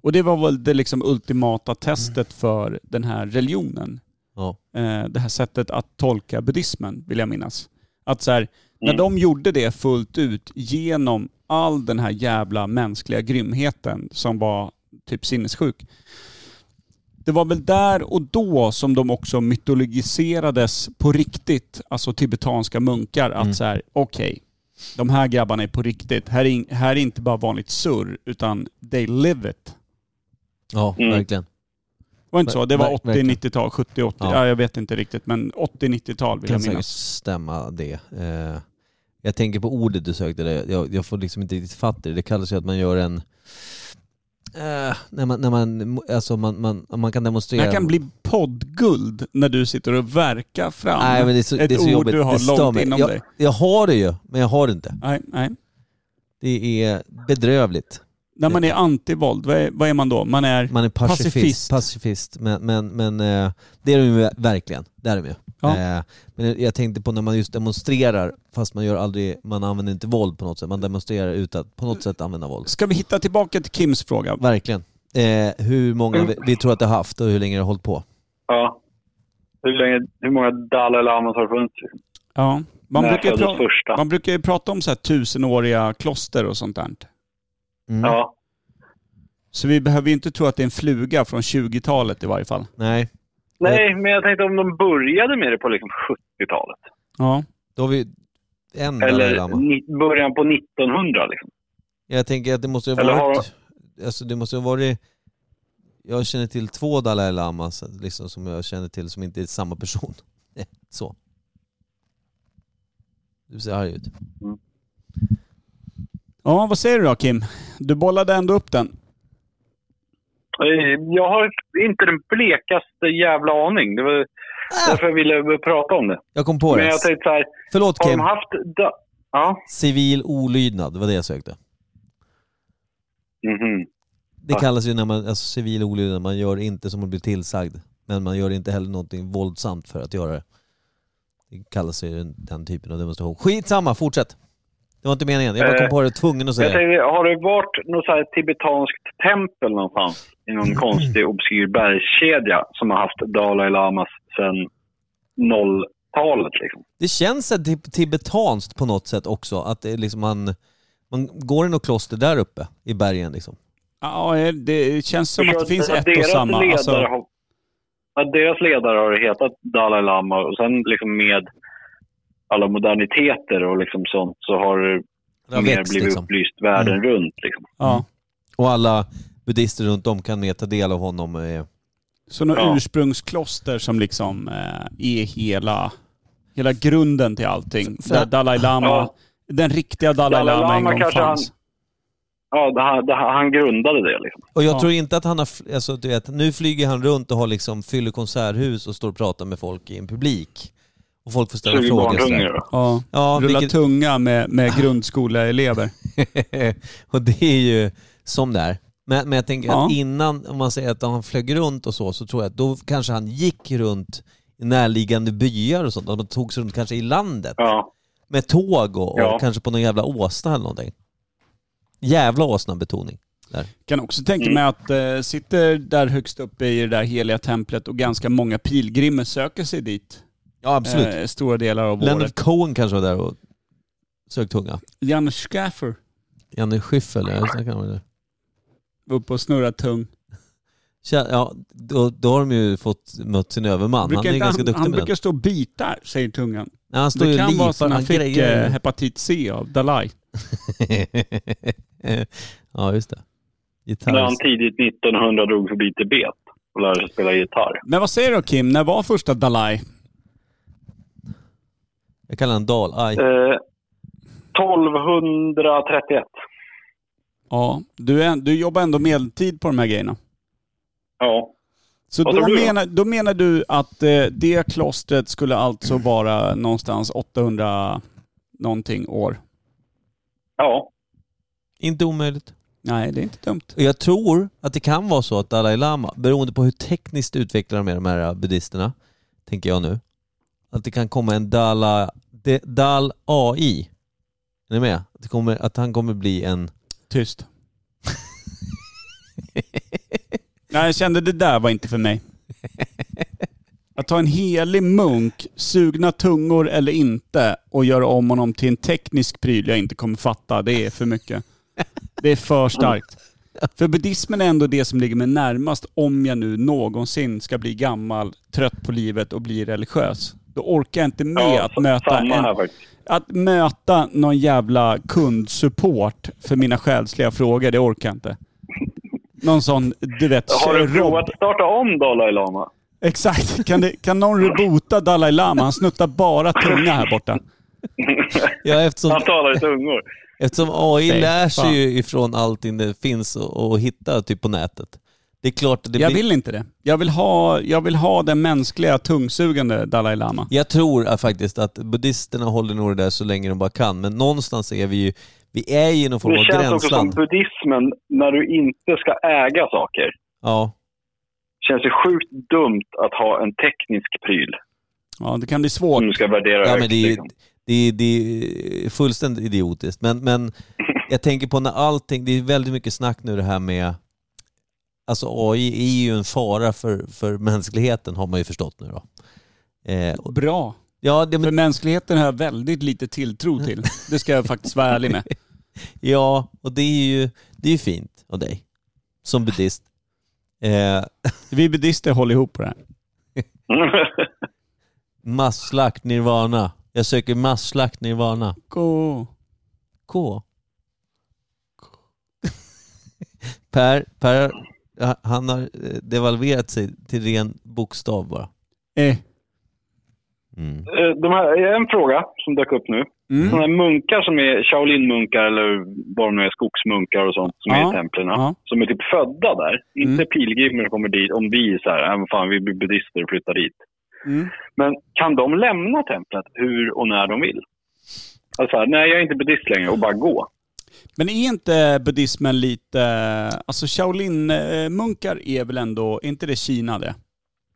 [SPEAKER 2] Och det var väl det liksom ultimata testet för den här religionen
[SPEAKER 3] Ja.
[SPEAKER 2] eh, det här sättet att tolka buddhismen, vill jag minnas. Att så här, när de gjorde det fullt ut genom all den här jävla mänskliga grymheten som var typ sinnessjuk. Det var väl där och då som de också mytologiserades på riktigt, alltså tibetanska munkar, att så här, okej, de här grabbarna är på riktigt. Här är, in, här är inte bara vanligt surr, utan they live it.
[SPEAKER 3] ja,
[SPEAKER 1] Mm.
[SPEAKER 3] verkligen.
[SPEAKER 2] Var det inte så? Det var
[SPEAKER 3] Ver- verkligen.
[SPEAKER 2] 80-90-tal, 70-80, ja.
[SPEAKER 3] Ja.
[SPEAKER 2] jag vet inte riktigt, men 80-90-tal vill
[SPEAKER 3] Kan
[SPEAKER 2] jag
[SPEAKER 3] säkert
[SPEAKER 2] minnas.
[SPEAKER 3] stämma det. Eh, jag tänker på ordet du sökte där. Jag, jag får liksom inte riktigt fatta det. Det kallas ju att man gör en... Eh, när man, när man, alltså man, man, man kan
[SPEAKER 2] Det
[SPEAKER 3] demonstrera...
[SPEAKER 2] här kan bli poddguld när du sitter och verkar fram
[SPEAKER 3] Nej, men det är så,
[SPEAKER 2] ett
[SPEAKER 3] det är så
[SPEAKER 2] ord
[SPEAKER 3] jobbigt.
[SPEAKER 2] du har
[SPEAKER 3] det stör
[SPEAKER 2] långt
[SPEAKER 3] mig.
[SPEAKER 2] inom
[SPEAKER 3] jag,
[SPEAKER 2] dig.
[SPEAKER 3] Jag har det ju, men jag har det inte.
[SPEAKER 2] Nej, nej.
[SPEAKER 3] Det är bedrövligt.
[SPEAKER 2] När man är antivåld, vad är, vad är man då? Man är...
[SPEAKER 3] Man är pacifist.
[SPEAKER 2] Pacifist.
[SPEAKER 3] pacifist. Men, men, men eh, det är de ju verkligen. Det är de ju.
[SPEAKER 2] Ja.
[SPEAKER 3] Eh, Men jag tänkte på när man just demonstrerar, fast man gör aldrig, man använder inte våld på något sätt. Man demonstrerar utan att på något sätt använda våld.
[SPEAKER 2] Ska vi hitta tillbaka till Kims fråga?
[SPEAKER 3] Verkligen. Eh, hur många vi, vi tror att det har haft och hur länge det har hållit på.
[SPEAKER 1] Ja. Hur, länge, hur många Dalai Lamas har det funnits?
[SPEAKER 2] Ja. Man,
[SPEAKER 1] När
[SPEAKER 2] brukar ju
[SPEAKER 1] föddes
[SPEAKER 2] pra-
[SPEAKER 1] första?
[SPEAKER 2] man brukar ju prata om så här tusenåriga kloster och sånt där.
[SPEAKER 3] Mm.
[SPEAKER 1] Ja.
[SPEAKER 2] Så vi behöver ju inte tro att det är en fluga från 20-talet i varje fall.
[SPEAKER 3] Nej,
[SPEAKER 1] Nej, men jag tänkte om de började med det på liksom 70-talet.
[SPEAKER 2] Ja.
[SPEAKER 3] då har vi en Dalai
[SPEAKER 1] Eller
[SPEAKER 3] Lama.
[SPEAKER 1] ni- början på 1900 liksom.
[SPEAKER 3] Jag tänker att det måste ha
[SPEAKER 1] Eller har-
[SPEAKER 3] varit, alltså det måste ha varit, jag känner till två Dalai Lamas liksom, som jag känner till som inte är samma person. Eh, Så. Du ser arg ut.
[SPEAKER 2] ja, vad säger du då Kim? Du bollade ändå upp den.
[SPEAKER 1] Eh, Jag har inte den blekaste jävla aning. Det var
[SPEAKER 2] Ah.
[SPEAKER 1] därför jag ville prata om det.
[SPEAKER 3] Jag kom på
[SPEAKER 1] Men
[SPEAKER 3] det.
[SPEAKER 1] jag tänkte så här,
[SPEAKER 3] Förlåt
[SPEAKER 1] har de
[SPEAKER 3] Kim,
[SPEAKER 1] haft... Da- ja.
[SPEAKER 3] civil olydnad, det var det jag sökte.
[SPEAKER 1] Mhm.
[SPEAKER 3] Det kallas ju när man, alltså civil olydnad, man gör inte som man blir tillsagd. Men man gör inte heller någonting våldsamt för att göra det. Det kallas ju den, den typen av demonstration. Skitsamma, fortsätt! Det var inte meningen, jag bara kom
[SPEAKER 1] Eh,
[SPEAKER 3] på det, tvungen att
[SPEAKER 1] Jag
[SPEAKER 3] säga det.
[SPEAKER 1] tänkte, har det varit något så här tibetanskt tempel någonstans i
[SPEAKER 2] Mm.
[SPEAKER 1] någon konstig obskyr bergskedja som har haft Dalai Lamas sedan 0-talet liksom?
[SPEAKER 3] Det känns så här tib- tibetanskt på något sätt också, att det är liksom man, man går i något kloster där uppe i bergen liksom.
[SPEAKER 2] Ja, det känns som att det finns ett och
[SPEAKER 1] deras
[SPEAKER 2] samma.
[SPEAKER 1] Ledare
[SPEAKER 2] Alltså-
[SPEAKER 1] har, att deras ledare har hetat Dalai Lama och sen liksom med alla moderniteter och liksom sånt så har det
[SPEAKER 3] Det har
[SPEAKER 1] mer
[SPEAKER 3] växt,
[SPEAKER 1] blivit
[SPEAKER 3] liksom.
[SPEAKER 1] upplyst världen
[SPEAKER 2] Mm.
[SPEAKER 1] runt. Liksom.
[SPEAKER 2] ja.
[SPEAKER 3] Och alla buddhister runt om kan mer ta del av honom. eh.
[SPEAKER 2] Så några
[SPEAKER 1] Ja.
[SPEAKER 2] ursprungskloster som liksom eh, är hela, hela grunden till allting. Där Dalai Lama,
[SPEAKER 1] Ja.
[SPEAKER 2] den riktiga Dalai,
[SPEAKER 1] Dalai
[SPEAKER 2] Lama en
[SPEAKER 1] Lama
[SPEAKER 2] gång
[SPEAKER 1] kanske
[SPEAKER 2] fanns.
[SPEAKER 1] Ja, det, här- det, här- han grundade det liksom.
[SPEAKER 3] Och jag
[SPEAKER 2] Ja.
[SPEAKER 3] tror inte att han har, fl- alltså du vet, nu flyger han runt och har liksom, fyller konserthus och står och pratar med folk i en publik. Och folk får ställa
[SPEAKER 1] Suger
[SPEAKER 3] frågor. så
[SPEAKER 1] barnhunger.
[SPEAKER 3] där.
[SPEAKER 1] då.
[SPEAKER 2] Ja.
[SPEAKER 3] Ja,
[SPEAKER 2] Rulla
[SPEAKER 3] vilket,
[SPEAKER 2] tunga med, med grundskoleelever.
[SPEAKER 3] och det är ju som det är. Men, men jag tänker
[SPEAKER 2] Ja.
[SPEAKER 3] att innan, om man säger att han flög runt och så, så tror jag att då kanske han gick runt i närliggande byar och sånt. Att man tog sig runt kanske i landet
[SPEAKER 1] Ja.
[SPEAKER 3] med tåg och, och
[SPEAKER 1] Ja.
[SPEAKER 3] kanske på någon jävla åsna eller någonting. Jävla åsna-betoning. där.
[SPEAKER 2] Kan också
[SPEAKER 1] Mm.
[SPEAKER 2] tänka mig att eh, sitter där högst uppe i det där heliga templet och ganska många pilgrimer söker sig dit.
[SPEAKER 3] Ja, absolut.
[SPEAKER 2] Eh, stora delar av
[SPEAKER 3] Leonard
[SPEAKER 2] året.
[SPEAKER 3] Cohen kanske var där och sög tunga.
[SPEAKER 2] Janne Schaffer
[SPEAKER 3] Janne Schiffer, eller jag snackade om det.
[SPEAKER 2] var uppe och snurrade tung.
[SPEAKER 3] Tja, Ja, då, då har de ju fått mött sin överman. Han är ju
[SPEAKER 2] Brukar
[SPEAKER 3] ganska
[SPEAKER 2] inte
[SPEAKER 3] duktig
[SPEAKER 2] han, han
[SPEAKER 3] med
[SPEAKER 2] brukar
[SPEAKER 3] den.
[SPEAKER 2] stå och bita, säger tungan.
[SPEAKER 3] Nej, han står ju
[SPEAKER 2] Det
[SPEAKER 3] och
[SPEAKER 2] kan vara
[SPEAKER 3] lipar,
[SPEAKER 2] så att han
[SPEAKER 3] han
[SPEAKER 2] fick eh,
[SPEAKER 3] grejer.
[SPEAKER 2] hepatit C av Dalai.
[SPEAKER 3] ja, just det. Gitarr.
[SPEAKER 1] När han tidigt 1900 drog förbi Tibet och lärde sig spela gitarr.
[SPEAKER 2] Men vad säger du Kim, när var första Dalai?
[SPEAKER 3] Jag kallar han Dal. Aj.
[SPEAKER 1] Eh, 1231.
[SPEAKER 2] Ja, du, är, du jobbar ändå medeltid på de här grejerna.
[SPEAKER 1] Ja.
[SPEAKER 2] Så
[SPEAKER 1] Vad
[SPEAKER 2] då,
[SPEAKER 1] tror du då?
[SPEAKER 2] menar, då menar du att eh, det klostret skulle alltså vara någonstans 800 någonting år?
[SPEAKER 1] Ja.
[SPEAKER 3] Inte omöjligt.
[SPEAKER 2] Nej, det är inte dumt.
[SPEAKER 3] Och Jag tror att det kan vara så att Dalai Lama, beroende på hur tekniskt utvecklade de är, de här buddhisterna, tänker jag nu, att det kan komma en Dala, De- Dal AI. Är ni med? Att, det kommer, att han kommer bli en...
[SPEAKER 2] Tyst. Nej, jag kände det där var inte för mig. Att ha en helig munk, sugna tungor eller inte, och göra om honom till en teknisk pryl jag inte kommer fatta, det är för mycket. Det är för starkt. För buddhismen är ändå det som ligger mig närmast om jag nu någonsin ska bli gammal, trött på livet och bli religiös. Då orkar jag inte med
[SPEAKER 1] ja
[SPEAKER 2] att möta
[SPEAKER 1] samma
[SPEAKER 2] en
[SPEAKER 1] här faktiskt.
[SPEAKER 2] att möta någon jävla kundsupport för mina själsliga frågor, det orkar jag inte. Någon sån, du vet,
[SPEAKER 1] Har du
[SPEAKER 2] Rob-
[SPEAKER 1] provat att starta om Dalai Lama?
[SPEAKER 2] Exakt. Kan, det, kan någon rebota Dalai Lama? Han snuttar bara tunga här borta.
[SPEAKER 3] Ja, eftersom,
[SPEAKER 1] Han talar i tungor.
[SPEAKER 3] eftersom AI
[SPEAKER 2] Fy
[SPEAKER 3] lär
[SPEAKER 2] fan.
[SPEAKER 3] sig ju ifrån allting det finns och, och hitta typ på nätet. Det är klart, att det
[SPEAKER 2] Jag
[SPEAKER 3] blir,
[SPEAKER 2] vill inte det. Jag vill ha, jag vill ha den mänskliga tungsugande Dalai Lama.
[SPEAKER 3] jag tror att faktiskt att buddhisterna håller nog det där så länge de bara kan, men någonstans är vi ju, vi är ju i någon form
[SPEAKER 1] Det
[SPEAKER 3] av
[SPEAKER 1] känns också som
[SPEAKER 3] gränsland.
[SPEAKER 1] buddhismen när du inte ska äga saker.
[SPEAKER 3] Ja,
[SPEAKER 1] känns det sjukt dumt att ha en teknisk pryl
[SPEAKER 2] Ja, det kan bli svårt.
[SPEAKER 1] som du ska värdera
[SPEAKER 3] Ja,
[SPEAKER 1] högt.
[SPEAKER 3] men det, är,
[SPEAKER 1] liksom.
[SPEAKER 3] det, är, det är fullständigt idiotiskt. Men, men jag tänker på när allting, det är väldigt mycket snack nu det här med, alltså AI är ju en fara för, för mänskligheten har man ju förstått nu då. Eh, och-
[SPEAKER 2] Bra.
[SPEAKER 3] ja, det,
[SPEAKER 2] För
[SPEAKER 3] men,
[SPEAKER 2] mänskligheten har jag väldigt lite tilltro till. Det ska jag faktiskt vara ärlig med.
[SPEAKER 3] ja, och det är ju det är ju fint av dig som buddhist. Eh,
[SPEAKER 2] Vi buddhister håller ihop på det här.
[SPEAKER 3] masslakt nirvana. Jag söker masslakt nirvana.
[SPEAKER 2] Go.
[SPEAKER 3] K. Per, per han har eh, devalverat sig till ren bokstav bara.
[SPEAKER 2] Eh.
[SPEAKER 1] Eh, De här, en fråga som dök upp nu.
[SPEAKER 2] Mm.
[SPEAKER 1] Sådana här munkar som är Shaolin-munkar eller vad de nu är, skogsmunkar och sånt som
[SPEAKER 2] Ja,
[SPEAKER 1] är i templen.
[SPEAKER 2] ja.
[SPEAKER 1] Som är typ födda där. Inte
[SPEAKER 2] Mm.
[SPEAKER 1] pilgrimer som kommer dit om vi är så här, "Äh, men fan vi blir buddister och flyttar dit.
[SPEAKER 2] Mm.
[SPEAKER 1] Men kan de lämna templet hur och när de vill? Alltså så här, nej jag är inte buddhist längre och bara gå.
[SPEAKER 2] Men är inte buddhismen lite... Alltså Shaolin-munkar är väl ändå... Är inte det Kina det?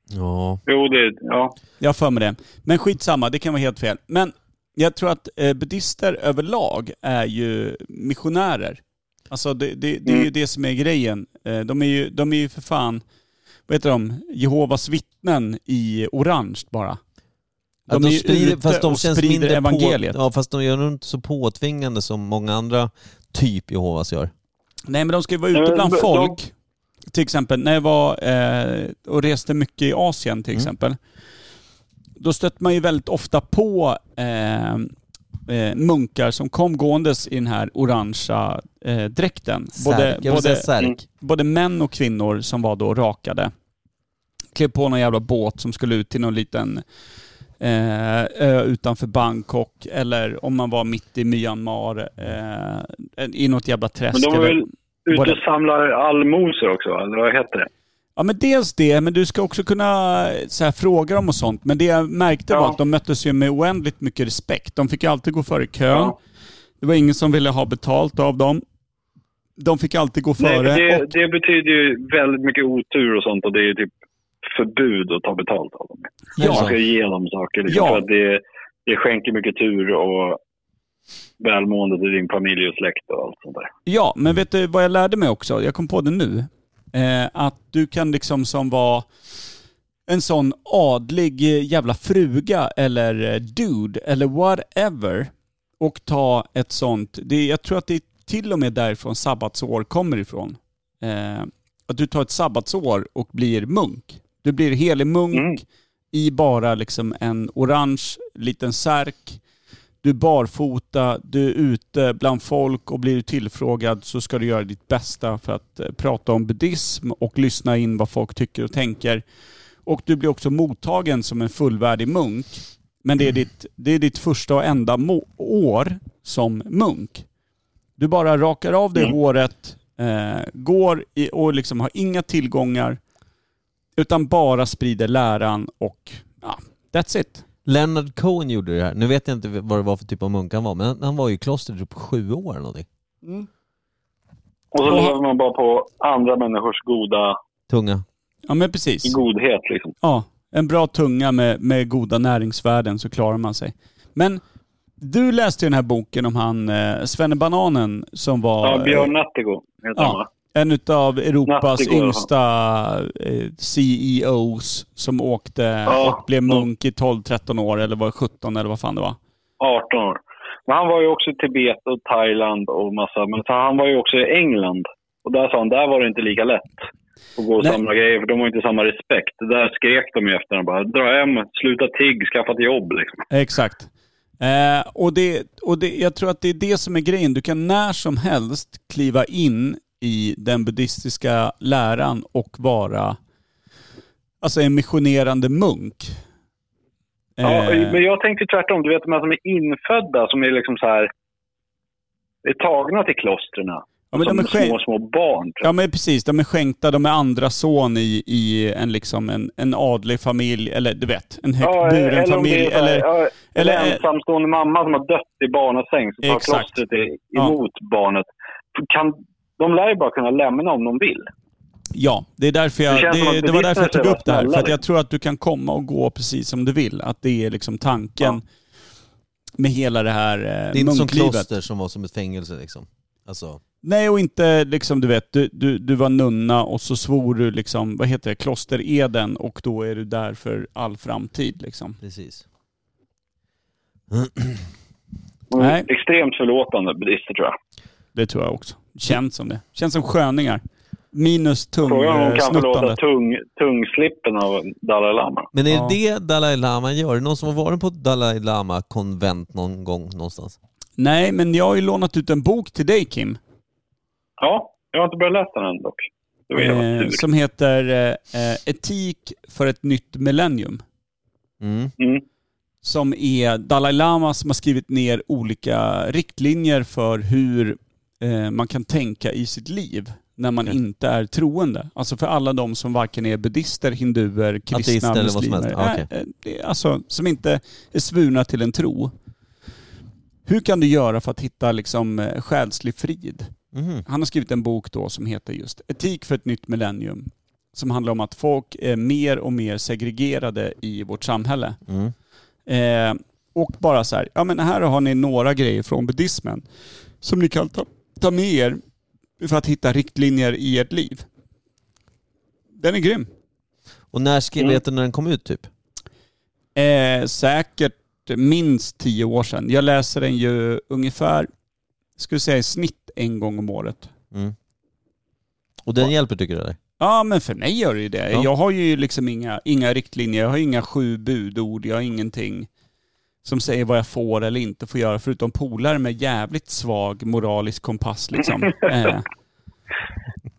[SPEAKER 3] Ja.
[SPEAKER 1] Jo, det, ja.
[SPEAKER 2] Jag har för mig det. Men skitsamma, det kan vara helt fel. Men jag tror att eh, buddhister överlag är ju missionärer. Alltså det, det, det är ju
[SPEAKER 1] Mm.
[SPEAKER 2] det som är grejen. Eh, De är ju, de är ju för fan, vad heter de, Jehovas vittnen i orange bara.
[SPEAKER 3] De,
[SPEAKER 2] är
[SPEAKER 3] de
[SPEAKER 2] ju
[SPEAKER 3] sprider,
[SPEAKER 2] ute
[SPEAKER 3] fast de
[SPEAKER 2] och
[SPEAKER 3] känns
[SPEAKER 2] sprider
[SPEAKER 3] mindre
[SPEAKER 2] evangeliet.
[SPEAKER 3] På, ja, fast de gör nog inte så påtvingande som många andra typ Jehovas gör.
[SPEAKER 2] Nej men de ska ju vara
[SPEAKER 1] Nej,
[SPEAKER 2] ute
[SPEAKER 1] men
[SPEAKER 2] bland
[SPEAKER 1] de-
[SPEAKER 2] folk. Till exempel när jag var eh, och reste mycket i Asien till
[SPEAKER 3] Mm.
[SPEAKER 2] exempel. Då stötte man ju väldigt ofta på eh, eh, munkar som kom gåendes i den här orangea eh, dräkten.
[SPEAKER 3] Särk. Jag vill säga
[SPEAKER 1] Mm.
[SPEAKER 3] särk.
[SPEAKER 2] både män och kvinnor som var då rakade. Klev på någon jävla båt som skulle ut till någon liten eh, ö utanför Bangkok eller om man var mitt i Myanmar eh, i något jävla träsk.
[SPEAKER 1] Men de var
[SPEAKER 2] eller-
[SPEAKER 1] väl ute
[SPEAKER 2] Både-
[SPEAKER 1] och samlar allmosor också, va? eller vad heter det?
[SPEAKER 2] Ja men dels det, men du ska också kunna eh, så här, fråga dem och sånt. Men det jag märkte var
[SPEAKER 1] Ja.
[SPEAKER 2] att de möttes ju med oändligt mycket respekt. De fick ju alltid gå före kön.
[SPEAKER 1] Ja.
[SPEAKER 2] Det var ingen som ville ha betalt av dem. De fick alltid gå
[SPEAKER 1] Nej,
[SPEAKER 2] före.
[SPEAKER 1] det,
[SPEAKER 2] och,
[SPEAKER 1] det betyder ju väldigt mycket otur och sånt och det är ju typ förbud att ta betalt av dem. Man
[SPEAKER 2] ja,
[SPEAKER 1] ska ju ge dem saker liksom,
[SPEAKER 2] Ja.
[SPEAKER 1] för att det, det skänker mycket tur och välmåendet i din familj och släkt och allt sånt där.
[SPEAKER 2] Ja, men vet du vad jag lärde mig också? Jag kom på det nu. Eh, att du kan liksom som vara en sån adlig eh, jävla fruga eller eh, dude eller whatever och ta ett sånt, det, jag tror att det är till och med därifrån sabbatsår kommer ifrån. Eh, att du tar ett sabbatsår och blir munk. Du blir helig munk
[SPEAKER 1] Mm.
[SPEAKER 2] i bara liksom en orange liten särk. Du är barfota, du är ute bland folk och blir du tillfrågad så ska du göra ditt bästa för att eh, prata om buddhism och lyssna in vad folk tycker och tänker. Och du blir också mottagen som en fullvärdig munk. Men det är ditt, det är ditt första och enda mo- år som munk. Du bara rakar av dig håret, eh, går i, och liksom har inga tillgångar, utan bara sprider läran och ja, that's it.
[SPEAKER 3] Leonard Cohen gjorde det här. Nu vet jag inte vad det var för typ av munk han var, men han, han var ju i klostret typ sju år eller någonting.
[SPEAKER 1] Och så
[SPEAKER 2] Ja.
[SPEAKER 1] lever man bara på andra människors goda
[SPEAKER 3] Tunga.
[SPEAKER 2] Ja men precis.
[SPEAKER 1] godhet liksom.
[SPEAKER 2] Ja, en bra tunga med, med goda näringsvärden så klarar man sig. Men du läste ju den här boken om han eh, Svenne Bananen som var
[SPEAKER 1] Ja, Björn Nattigo heter han va?
[SPEAKER 2] ja, en utav Europas
[SPEAKER 1] Nattigård, ja.
[SPEAKER 2] yngsta eh, CEOs som åkte
[SPEAKER 1] Ja,
[SPEAKER 2] och blev
[SPEAKER 1] ja.
[SPEAKER 2] munk i 12-13 år eller var det 17 eller vad fan det var.
[SPEAKER 1] 18 år. Men han var ju också i Tibet och Thailand och massa, men så han var ju också i England. Och där sa han, där var det inte lika lätt att gå och
[SPEAKER 2] Nej.
[SPEAKER 1] samla grejer, för de har inte samma respekt. Där skrek de ju efter honom bara, dra hem, sluta tigg, skaffa ett jobb liksom.
[SPEAKER 2] Exakt. Eh, och det, och det, jag tror att det är det som är grejen. Du kan när som helst kliva in i den buddhistiska läran och vara alltså en missionerande munk.
[SPEAKER 1] Ja,
[SPEAKER 2] Eh,
[SPEAKER 1] men jag tänkte tvärtom. Du vet de här som är infödda, som är liksom så här, är tagna till klostren.
[SPEAKER 2] ja, men
[SPEAKER 1] som
[SPEAKER 2] de är skänk-
[SPEAKER 1] små, små barn. tror jag.
[SPEAKER 2] Ja men precis, de är skänkta, de är andra son i, i en, liksom en, en adlig familj, eller du vet, en högt Typ buren
[SPEAKER 1] eller om det
[SPEAKER 2] familj.
[SPEAKER 1] är så här,
[SPEAKER 2] Eller,
[SPEAKER 1] ja,
[SPEAKER 2] eller-
[SPEAKER 1] en ensamstående mamma som har dött i barnasäng, så tar
[SPEAKER 2] Exakt.
[SPEAKER 1] klostret i-
[SPEAKER 2] Ja.
[SPEAKER 1] emot barnet. Kan, de lär ju bara kunna lämna om de vill.
[SPEAKER 2] Ja, det är därför jag,
[SPEAKER 1] Det känns som
[SPEAKER 2] det,
[SPEAKER 1] att
[SPEAKER 2] det var därför jag tog
[SPEAKER 1] buddhisterna
[SPEAKER 2] upp det här.
[SPEAKER 1] är
[SPEAKER 2] För att jag
[SPEAKER 1] liksom.
[SPEAKER 2] tror att du kan komma och gå precis som du vill. Att det är liksom tanken med hela det här eh,
[SPEAKER 3] Det är inte som
[SPEAKER 2] munklivet.
[SPEAKER 3] kloster som var som ett fängelse liksom. Alltså,
[SPEAKER 2] Nej, och inte liksom du vet, du, du, du var nunna och så svor du liksom, vad heter det, klostereden och då är du där för all framtid liksom.
[SPEAKER 3] precis.
[SPEAKER 1] De är
[SPEAKER 2] Nej.
[SPEAKER 1] Extremt förlåtande buddister tror jag.
[SPEAKER 2] Det tror jag också. Känns som det. Känns som sköningar. Minus eh,
[SPEAKER 1] Frågan om de kan förlåta
[SPEAKER 2] tungsnuttandet.
[SPEAKER 1] tung, tungslippen av Dalai Lama.
[SPEAKER 3] Men är
[SPEAKER 2] Ja.
[SPEAKER 3] det Dalai Lama gör? Är det någon som har varit på ett Dalai Lama-konvent någon gång någonstans?
[SPEAKER 2] Nej, men jag har ju lånat ut en bok till dig Kim.
[SPEAKER 1] Ja, jag har inte börjat läsa den än dock. Det var jävla
[SPEAKER 2] Eh,
[SPEAKER 1] tur.
[SPEAKER 2] som heter eh, eh, Etik för ett nytt millennium.
[SPEAKER 3] Mm.
[SPEAKER 1] Mm.
[SPEAKER 2] som är Dalai Lama som har skrivit ner olika riktlinjer för hur eh, man kan tänka i sitt liv när man
[SPEAKER 3] Okej.
[SPEAKER 2] inte är troende. Alltså för alla de som varken är buddister, hinduer, kristna,
[SPEAKER 3] Ateister eller vad som
[SPEAKER 2] muslimer.
[SPEAKER 3] helst. Ah, okej.
[SPEAKER 2] Eh, eh, det är Alltså som inte är svurna till en tro. Hur kan du göra för att hitta liksom, eh, själslig frid?
[SPEAKER 3] Mhm.
[SPEAKER 2] Han har skrivit en bok då som heter just Etik för ett nytt millennium. Som handlar om att folk är mer och mer segregerade i vårt samhälle.
[SPEAKER 3] Mm.
[SPEAKER 2] Eh, och bara så här, ja men här har ni några grejer från buddhismen som ni kan ta, ta med er för att hitta riktlinjer i ert liv. Den är grym.
[SPEAKER 3] Och när skrev,
[SPEAKER 1] Mm.
[SPEAKER 3] vet du när den kom ut typ?
[SPEAKER 2] Eh, säkert minst tio år sedan. Jag läser den ju ungefär, skulle säga i snitt en gång om året.
[SPEAKER 3] Mm. Och den hjälper tycker du eller?
[SPEAKER 2] Ja men för mig gör det ju det.
[SPEAKER 3] Ja.
[SPEAKER 2] Jag har ju liksom inga, inga riktlinjer, jag har inga sju budord, jag har ingenting som säger vad jag får eller inte får göra förutom polare med jävligt svag moralisk kompass liksom. eh.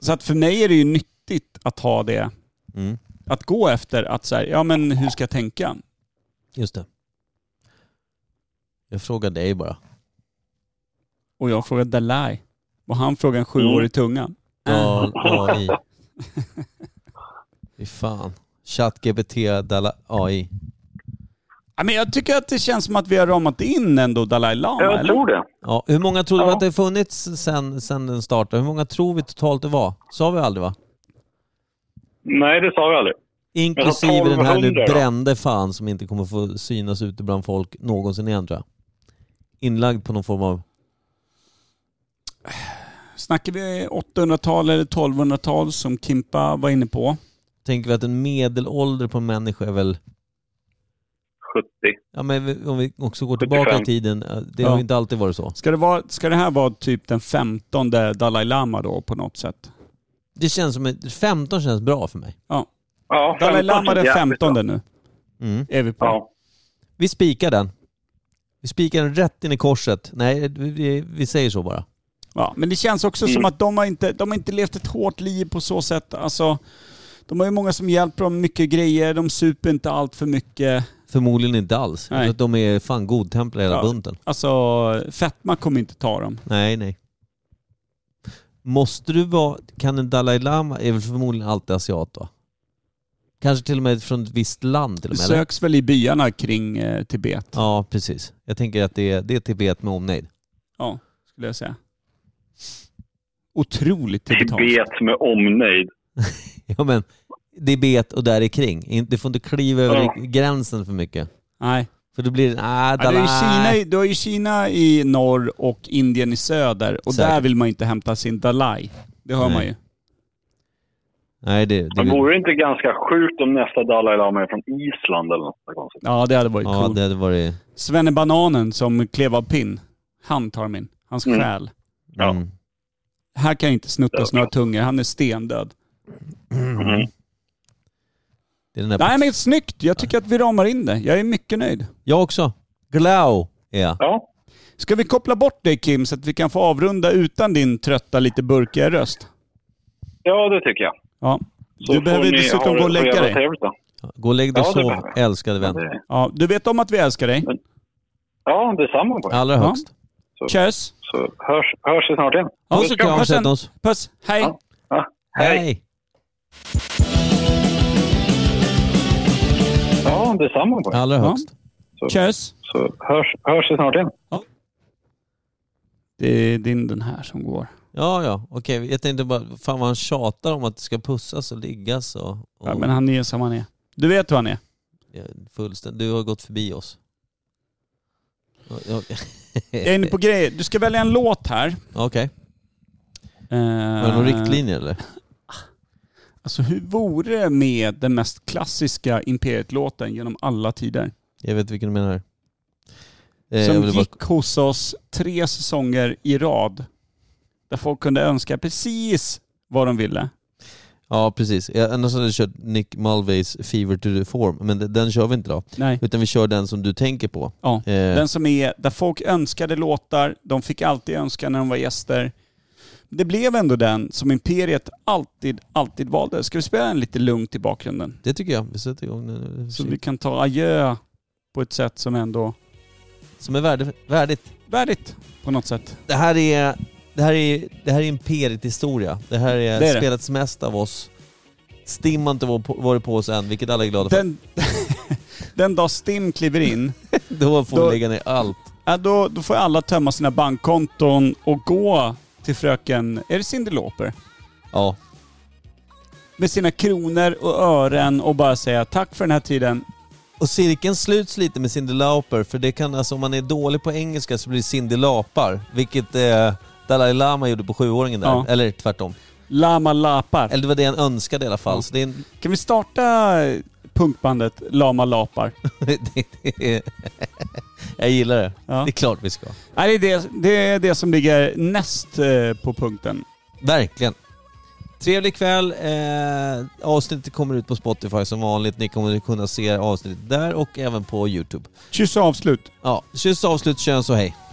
[SPEAKER 2] Så att för mig är det ju nyttigt att ha det,
[SPEAKER 3] Mm.
[SPEAKER 2] att gå efter att så här, ja men hur ska jag tänka?
[SPEAKER 3] Just det. Jag frågar dig bara.
[SPEAKER 2] Och jag frågar Dalai och han frågar en
[SPEAKER 3] Mm.
[SPEAKER 2] sjuårig tunga.
[SPEAKER 3] Ja, AI. Fy fan. ChatGPT Dala AI.
[SPEAKER 2] Ja, men jag tycker att det känns som att vi har ramat in ändå Dalai Lama.
[SPEAKER 1] Jag tror det.
[SPEAKER 3] Ja, hur många tror du
[SPEAKER 1] Ja.
[SPEAKER 3] att det har funnits sen, sen den startade? Hur många tror vi totalt det var? Sa vi aldrig va?
[SPEAKER 1] Nej, det sa vi aldrig.
[SPEAKER 3] Inklusive den här nu
[SPEAKER 1] 1200 då?
[SPEAKER 3] brände fan som inte kommer få synas ute bland folk någonsin igen tror jag. inlagd på någon form av...
[SPEAKER 2] Snackar vi 800-tal eller 1200-tal som Kimpa var inne på?
[SPEAKER 3] Tänker vi att en medelålder på en människa är väl...
[SPEAKER 1] 70.
[SPEAKER 3] Ja, men vi- om vi också går tillbaka i
[SPEAKER 1] 75.
[SPEAKER 3] tiden, eh, det
[SPEAKER 2] Ja.
[SPEAKER 3] har ju inte alltid varit så.
[SPEAKER 2] Ska det, vara, ska det här vara typ den 15 Dalai Lama då på något sätt?
[SPEAKER 3] Det känns som... ett- 15 känns bra för mig.
[SPEAKER 1] Ja,
[SPEAKER 2] Dalai
[SPEAKER 1] 15
[SPEAKER 2] Lama den
[SPEAKER 1] känns jävligt
[SPEAKER 2] 15
[SPEAKER 1] bra.
[SPEAKER 2] nu
[SPEAKER 3] Mm.
[SPEAKER 2] är vi på.
[SPEAKER 1] Ja.
[SPEAKER 3] Vi spikar den. Vi spikar den rätt in i korset. Nej, vi- vi, vi säger så bara.
[SPEAKER 2] Ja, men det känns också som
[SPEAKER 1] Mm.
[SPEAKER 2] att de har, inte, de har inte levt ett hårt liv på så sätt. Alltså, de har ju många som hjälper dem mycket grejer, de super inte allt för mycket.
[SPEAKER 3] Förmodligen inte alls.
[SPEAKER 2] Nej.
[SPEAKER 3] För att de är fan godtemplar hela
[SPEAKER 2] Ja.
[SPEAKER 3] bunten.
[SPEAKER 2] Alltså, fetma kommer inte ta dem.
[SPEAKER 3] Nej, nej. Måste du vara... Kan en Dalai Lama... Är väl förmodligen alltid asiat va? Kanske till och med från ett visst land till
[SPEAKER 2] Det
[SPEAKER 3] och med? Eller?
[SPEAKER 2] söks väl i byarna kring eh, Tibet,
[SPEAKER 3] Ja, precis. Jag tänker att det är, det är Tibet med omnejd.
[SPEAKER 2] skulle jag säga. Otroligt tibetanskt.
[SPEAKER 1] Tibet med omnejd.
[SPEAKER 3] Ja, men Tibet och där är kring. In- Du får inte kliva över
[SPEAKER 1] Ja.
[SPEAKER 3] gränsen för mycket.
[SPEAKER 2] Nej.
[SPEAKER 3] För då blir det... Ah,
[SPEAKER 2] Ja, du,
[SPEAKER 3] Dalai...
[SPEAKER 2] har ju Kina, i- du har ju Kina i norr och Indien i söder och
[SPEAKER 3] Säkert.
[SPEAKER 2] där vill man inte hämta sin Dalai. Det hör
[SPEAKER 3] Nej.
[SPEAKER 2] man ju.
[SPEAKER 3] Nej, det... det
[SPEAKER 1] Det vore det inte ganska sjukt om nästa Dalai Lama är från Island eller något sånt konstigt?
[SPEAKER 2] Ja, det hade varit
[SPEAKER 3] ja,
[SPEAKER 2] coolt.
[SPEAKER 3] det hade varit...
[SPEAKER 2] Svenne Bananen som klev av pinn. Han tar min. Hans
[SPEAKER 1] Mm.
[SPEAKER 2] själ.
[SPEAKER 1] Ja.
[SPEAKER 3] Mm.
[SPEAKER 2] Här kan inte snuttas några tungor. Han är stendöd.
[SPEAKER 1] Mm.
[SPEAKER 3] Det är den där...
[SPEAKER 2] Nej men snyggt. Jag tycker att vi ramar in det. Jag är mycket nöjd.
[SPEAKER 3] Jag också. Glau är jag.
[SPEAKER 1] Ja,
[SPEAKER 2] Ska vi koppla bort dig Kim så att vi kan få avrunda utan din trötta, lite burkiga röst?
[SPEAKER 1] ja det tycker jag.
[SPEAKER 2] Ja.
[SPEAKER 1] Så
[SPEAKER 2] Du behöver
[SPEAKER 1] får ni
[SPEAKER 2] dessutom
[SPEAKER 1] ha det
[SPEAKER 2] gå och
[SPEAKER 1] så
[SPEAKER 2] lägga
[SPEAKER 1] jävla
[SPEAKER 2] dig.
[SPEAKER 1] trevligt då.
[SPEAKER 3] Gå och lägg dig och
[SPEAKER 1] Ja, det
[SPEAKER 3] sov,
[SPEAKER 1] behöver jag.
[SPEAKER 3] älskade
[SPEAKER 1] Ja,
[SPEAKER 3] vän.
[SPEAKER 1] det-
[SPEAKER 2] ja. Du vet om att vi älskar dig.
[SPEAKER 1] Ja, detsamma på er.
[SPEAKER 3] Allra
[SPEAKER 2] Ja.
[SPEAKER 3] högst.
[SPEAKER 2] Tjöss.
[SPEAKER 1] Så hörs, hörs vi snart igen.
[SPEAKER 3] Puss och kram,
[SPEAKER 2] Puss,
[SPEAKER 3] sätt oss.
[SPEAKER 2] Puss. Hej.
[SPEAKER 1] Ja. Ja, hej!
[SPEAKER 3] Hej!
[SPEAKER 1] Ja, detsamma på er.
[SPEAKER 3] Allra
[SPEAKER 2] Ja.
[SPEAKER 3] högst.
[SPEAKER 2] Tjöss.
[SPEAKER 1] Så hörs, hörs vi snart igen.
[SPEAKER 2] Det är din den här som går.
[SPEAKER 3] Ja, ja. Okej, jag tänkte bara, fan vad han tjatar om att det ska pussas och liggas och... och
[SPEAKER 2] Ja, men han är som han är. Du vet hur han är.
[SPEAKER 3] Ja, fullständigt. Du har gått förbi oss. Ja, ja.
[SPEAKER 2] Jag är inne
[SPEAKER 3] Eh.
[SPEAKER 2] på grejer. Du ska välja en låt här.
[SPEAKER 3] Okej. Var det
[SPEAKER 2] Eh,
[SPEAKER 3] någon riktlinje eller?
[SPEAKER 2] Alltså hur vore det med den mest klassiska Imperiet-låten genom alla tider?
[SPEAKER 3] Jag vet vilken du menar. Eh, jag
[SPEAKER 2] som
[SPEAKER 3] ville bara...
[SPEAKER 2] gick hos oss tre säsonger i rad. Där folk kunde önska precis vad de ville.
[SPEAKER 3] Ja, precis. Jag, annars hade jag kört Nick Mulvays Fever to the Form, men den, den kör vi inte då.
[SPEAKER 2] Nej.
[SPEAKER 3] Utan vi kör den som du tänker på.
[SPEAKER 2] Ja.
[SPEAKER 3] Eh,
[SPEAKER 2] Den som är där folk önskade låtar, de fick alltid önska när de var gäster. Det blev ändå den som Imperiet alltid, alltid valde. Ska vi spela den lite lugnt i bakgrunden?
[SPEAKER 3] Det tycker jag. Vi sätter igång den.
[SPEAKER 2] Så vi kan ta adjö på ett sätt som ändå
[SPEAKER 3] Som är värde, värdigt.
[SPEAKER 2] värdigt på något sätt.
[SPEAKER 3] Det här är, det här är, det här är imperiet historia. Det här är,
[SPEAKER 2] Det är det.
[SPEAKER 3] spelats mest av oss. Stim har inte var- varit på oss än, vilket alla är glada för.
[SPEAKER 2] Den, den dag Stim kliver in
[SPEAKER 3] Då får
[SPEAKER 2] då-
[SPEAKER 3] vi lägga ner allt.
[SPEAKER 2] Ja, då, då får alla tömma sina bankkonton och gå till fröken, är det Cyndi Lauper?
[SPEAKER 3] Ja,
[SPEAKER 2] Med sina kronor och ören och bara säga tack för den här tiden.
[SPEAKER 3] Och cirkeln sluts lite med Cyndi Lauper, för det kan, alltså, om man är dålig på engelska så blir det Cyndi Lapar, vilket eh, Dalai Lama gjorde på sjuåringen där.
[SPEAKER 2] Ja.
[SPEAKER 3] Eller tvärtom.
[SPEAKER 2] Lama Lapar.
[SPEAKER 3] Eller det var det han önskade i alla fall.
[SPEAKER 2] Ja.
[SPEAKER 3] Så det är en...
[SPEAKER 2] Kan vi starta punkbandet Lama Lapar?
[SPEAKER 3] det, det är... Jag gillar det.
[SPEAKER 2] Ja.
[SPEAKER 3] Det är klart vi ska.
[SPEAKER 2] Nej, det, är det, det är det som ligger näst eh, på punkten.
[SPEAKER 3] Verkligen. Trevlig kväll. Eh, avsnittet kommer ut på Spotify som vanligt. Ni kommer kunna se avsnittet där och även på YouTube.
[SPEAKER 2] Kyss och avslut.
[SPEAKER 3] Ja, kyss, avslut, kön så hej.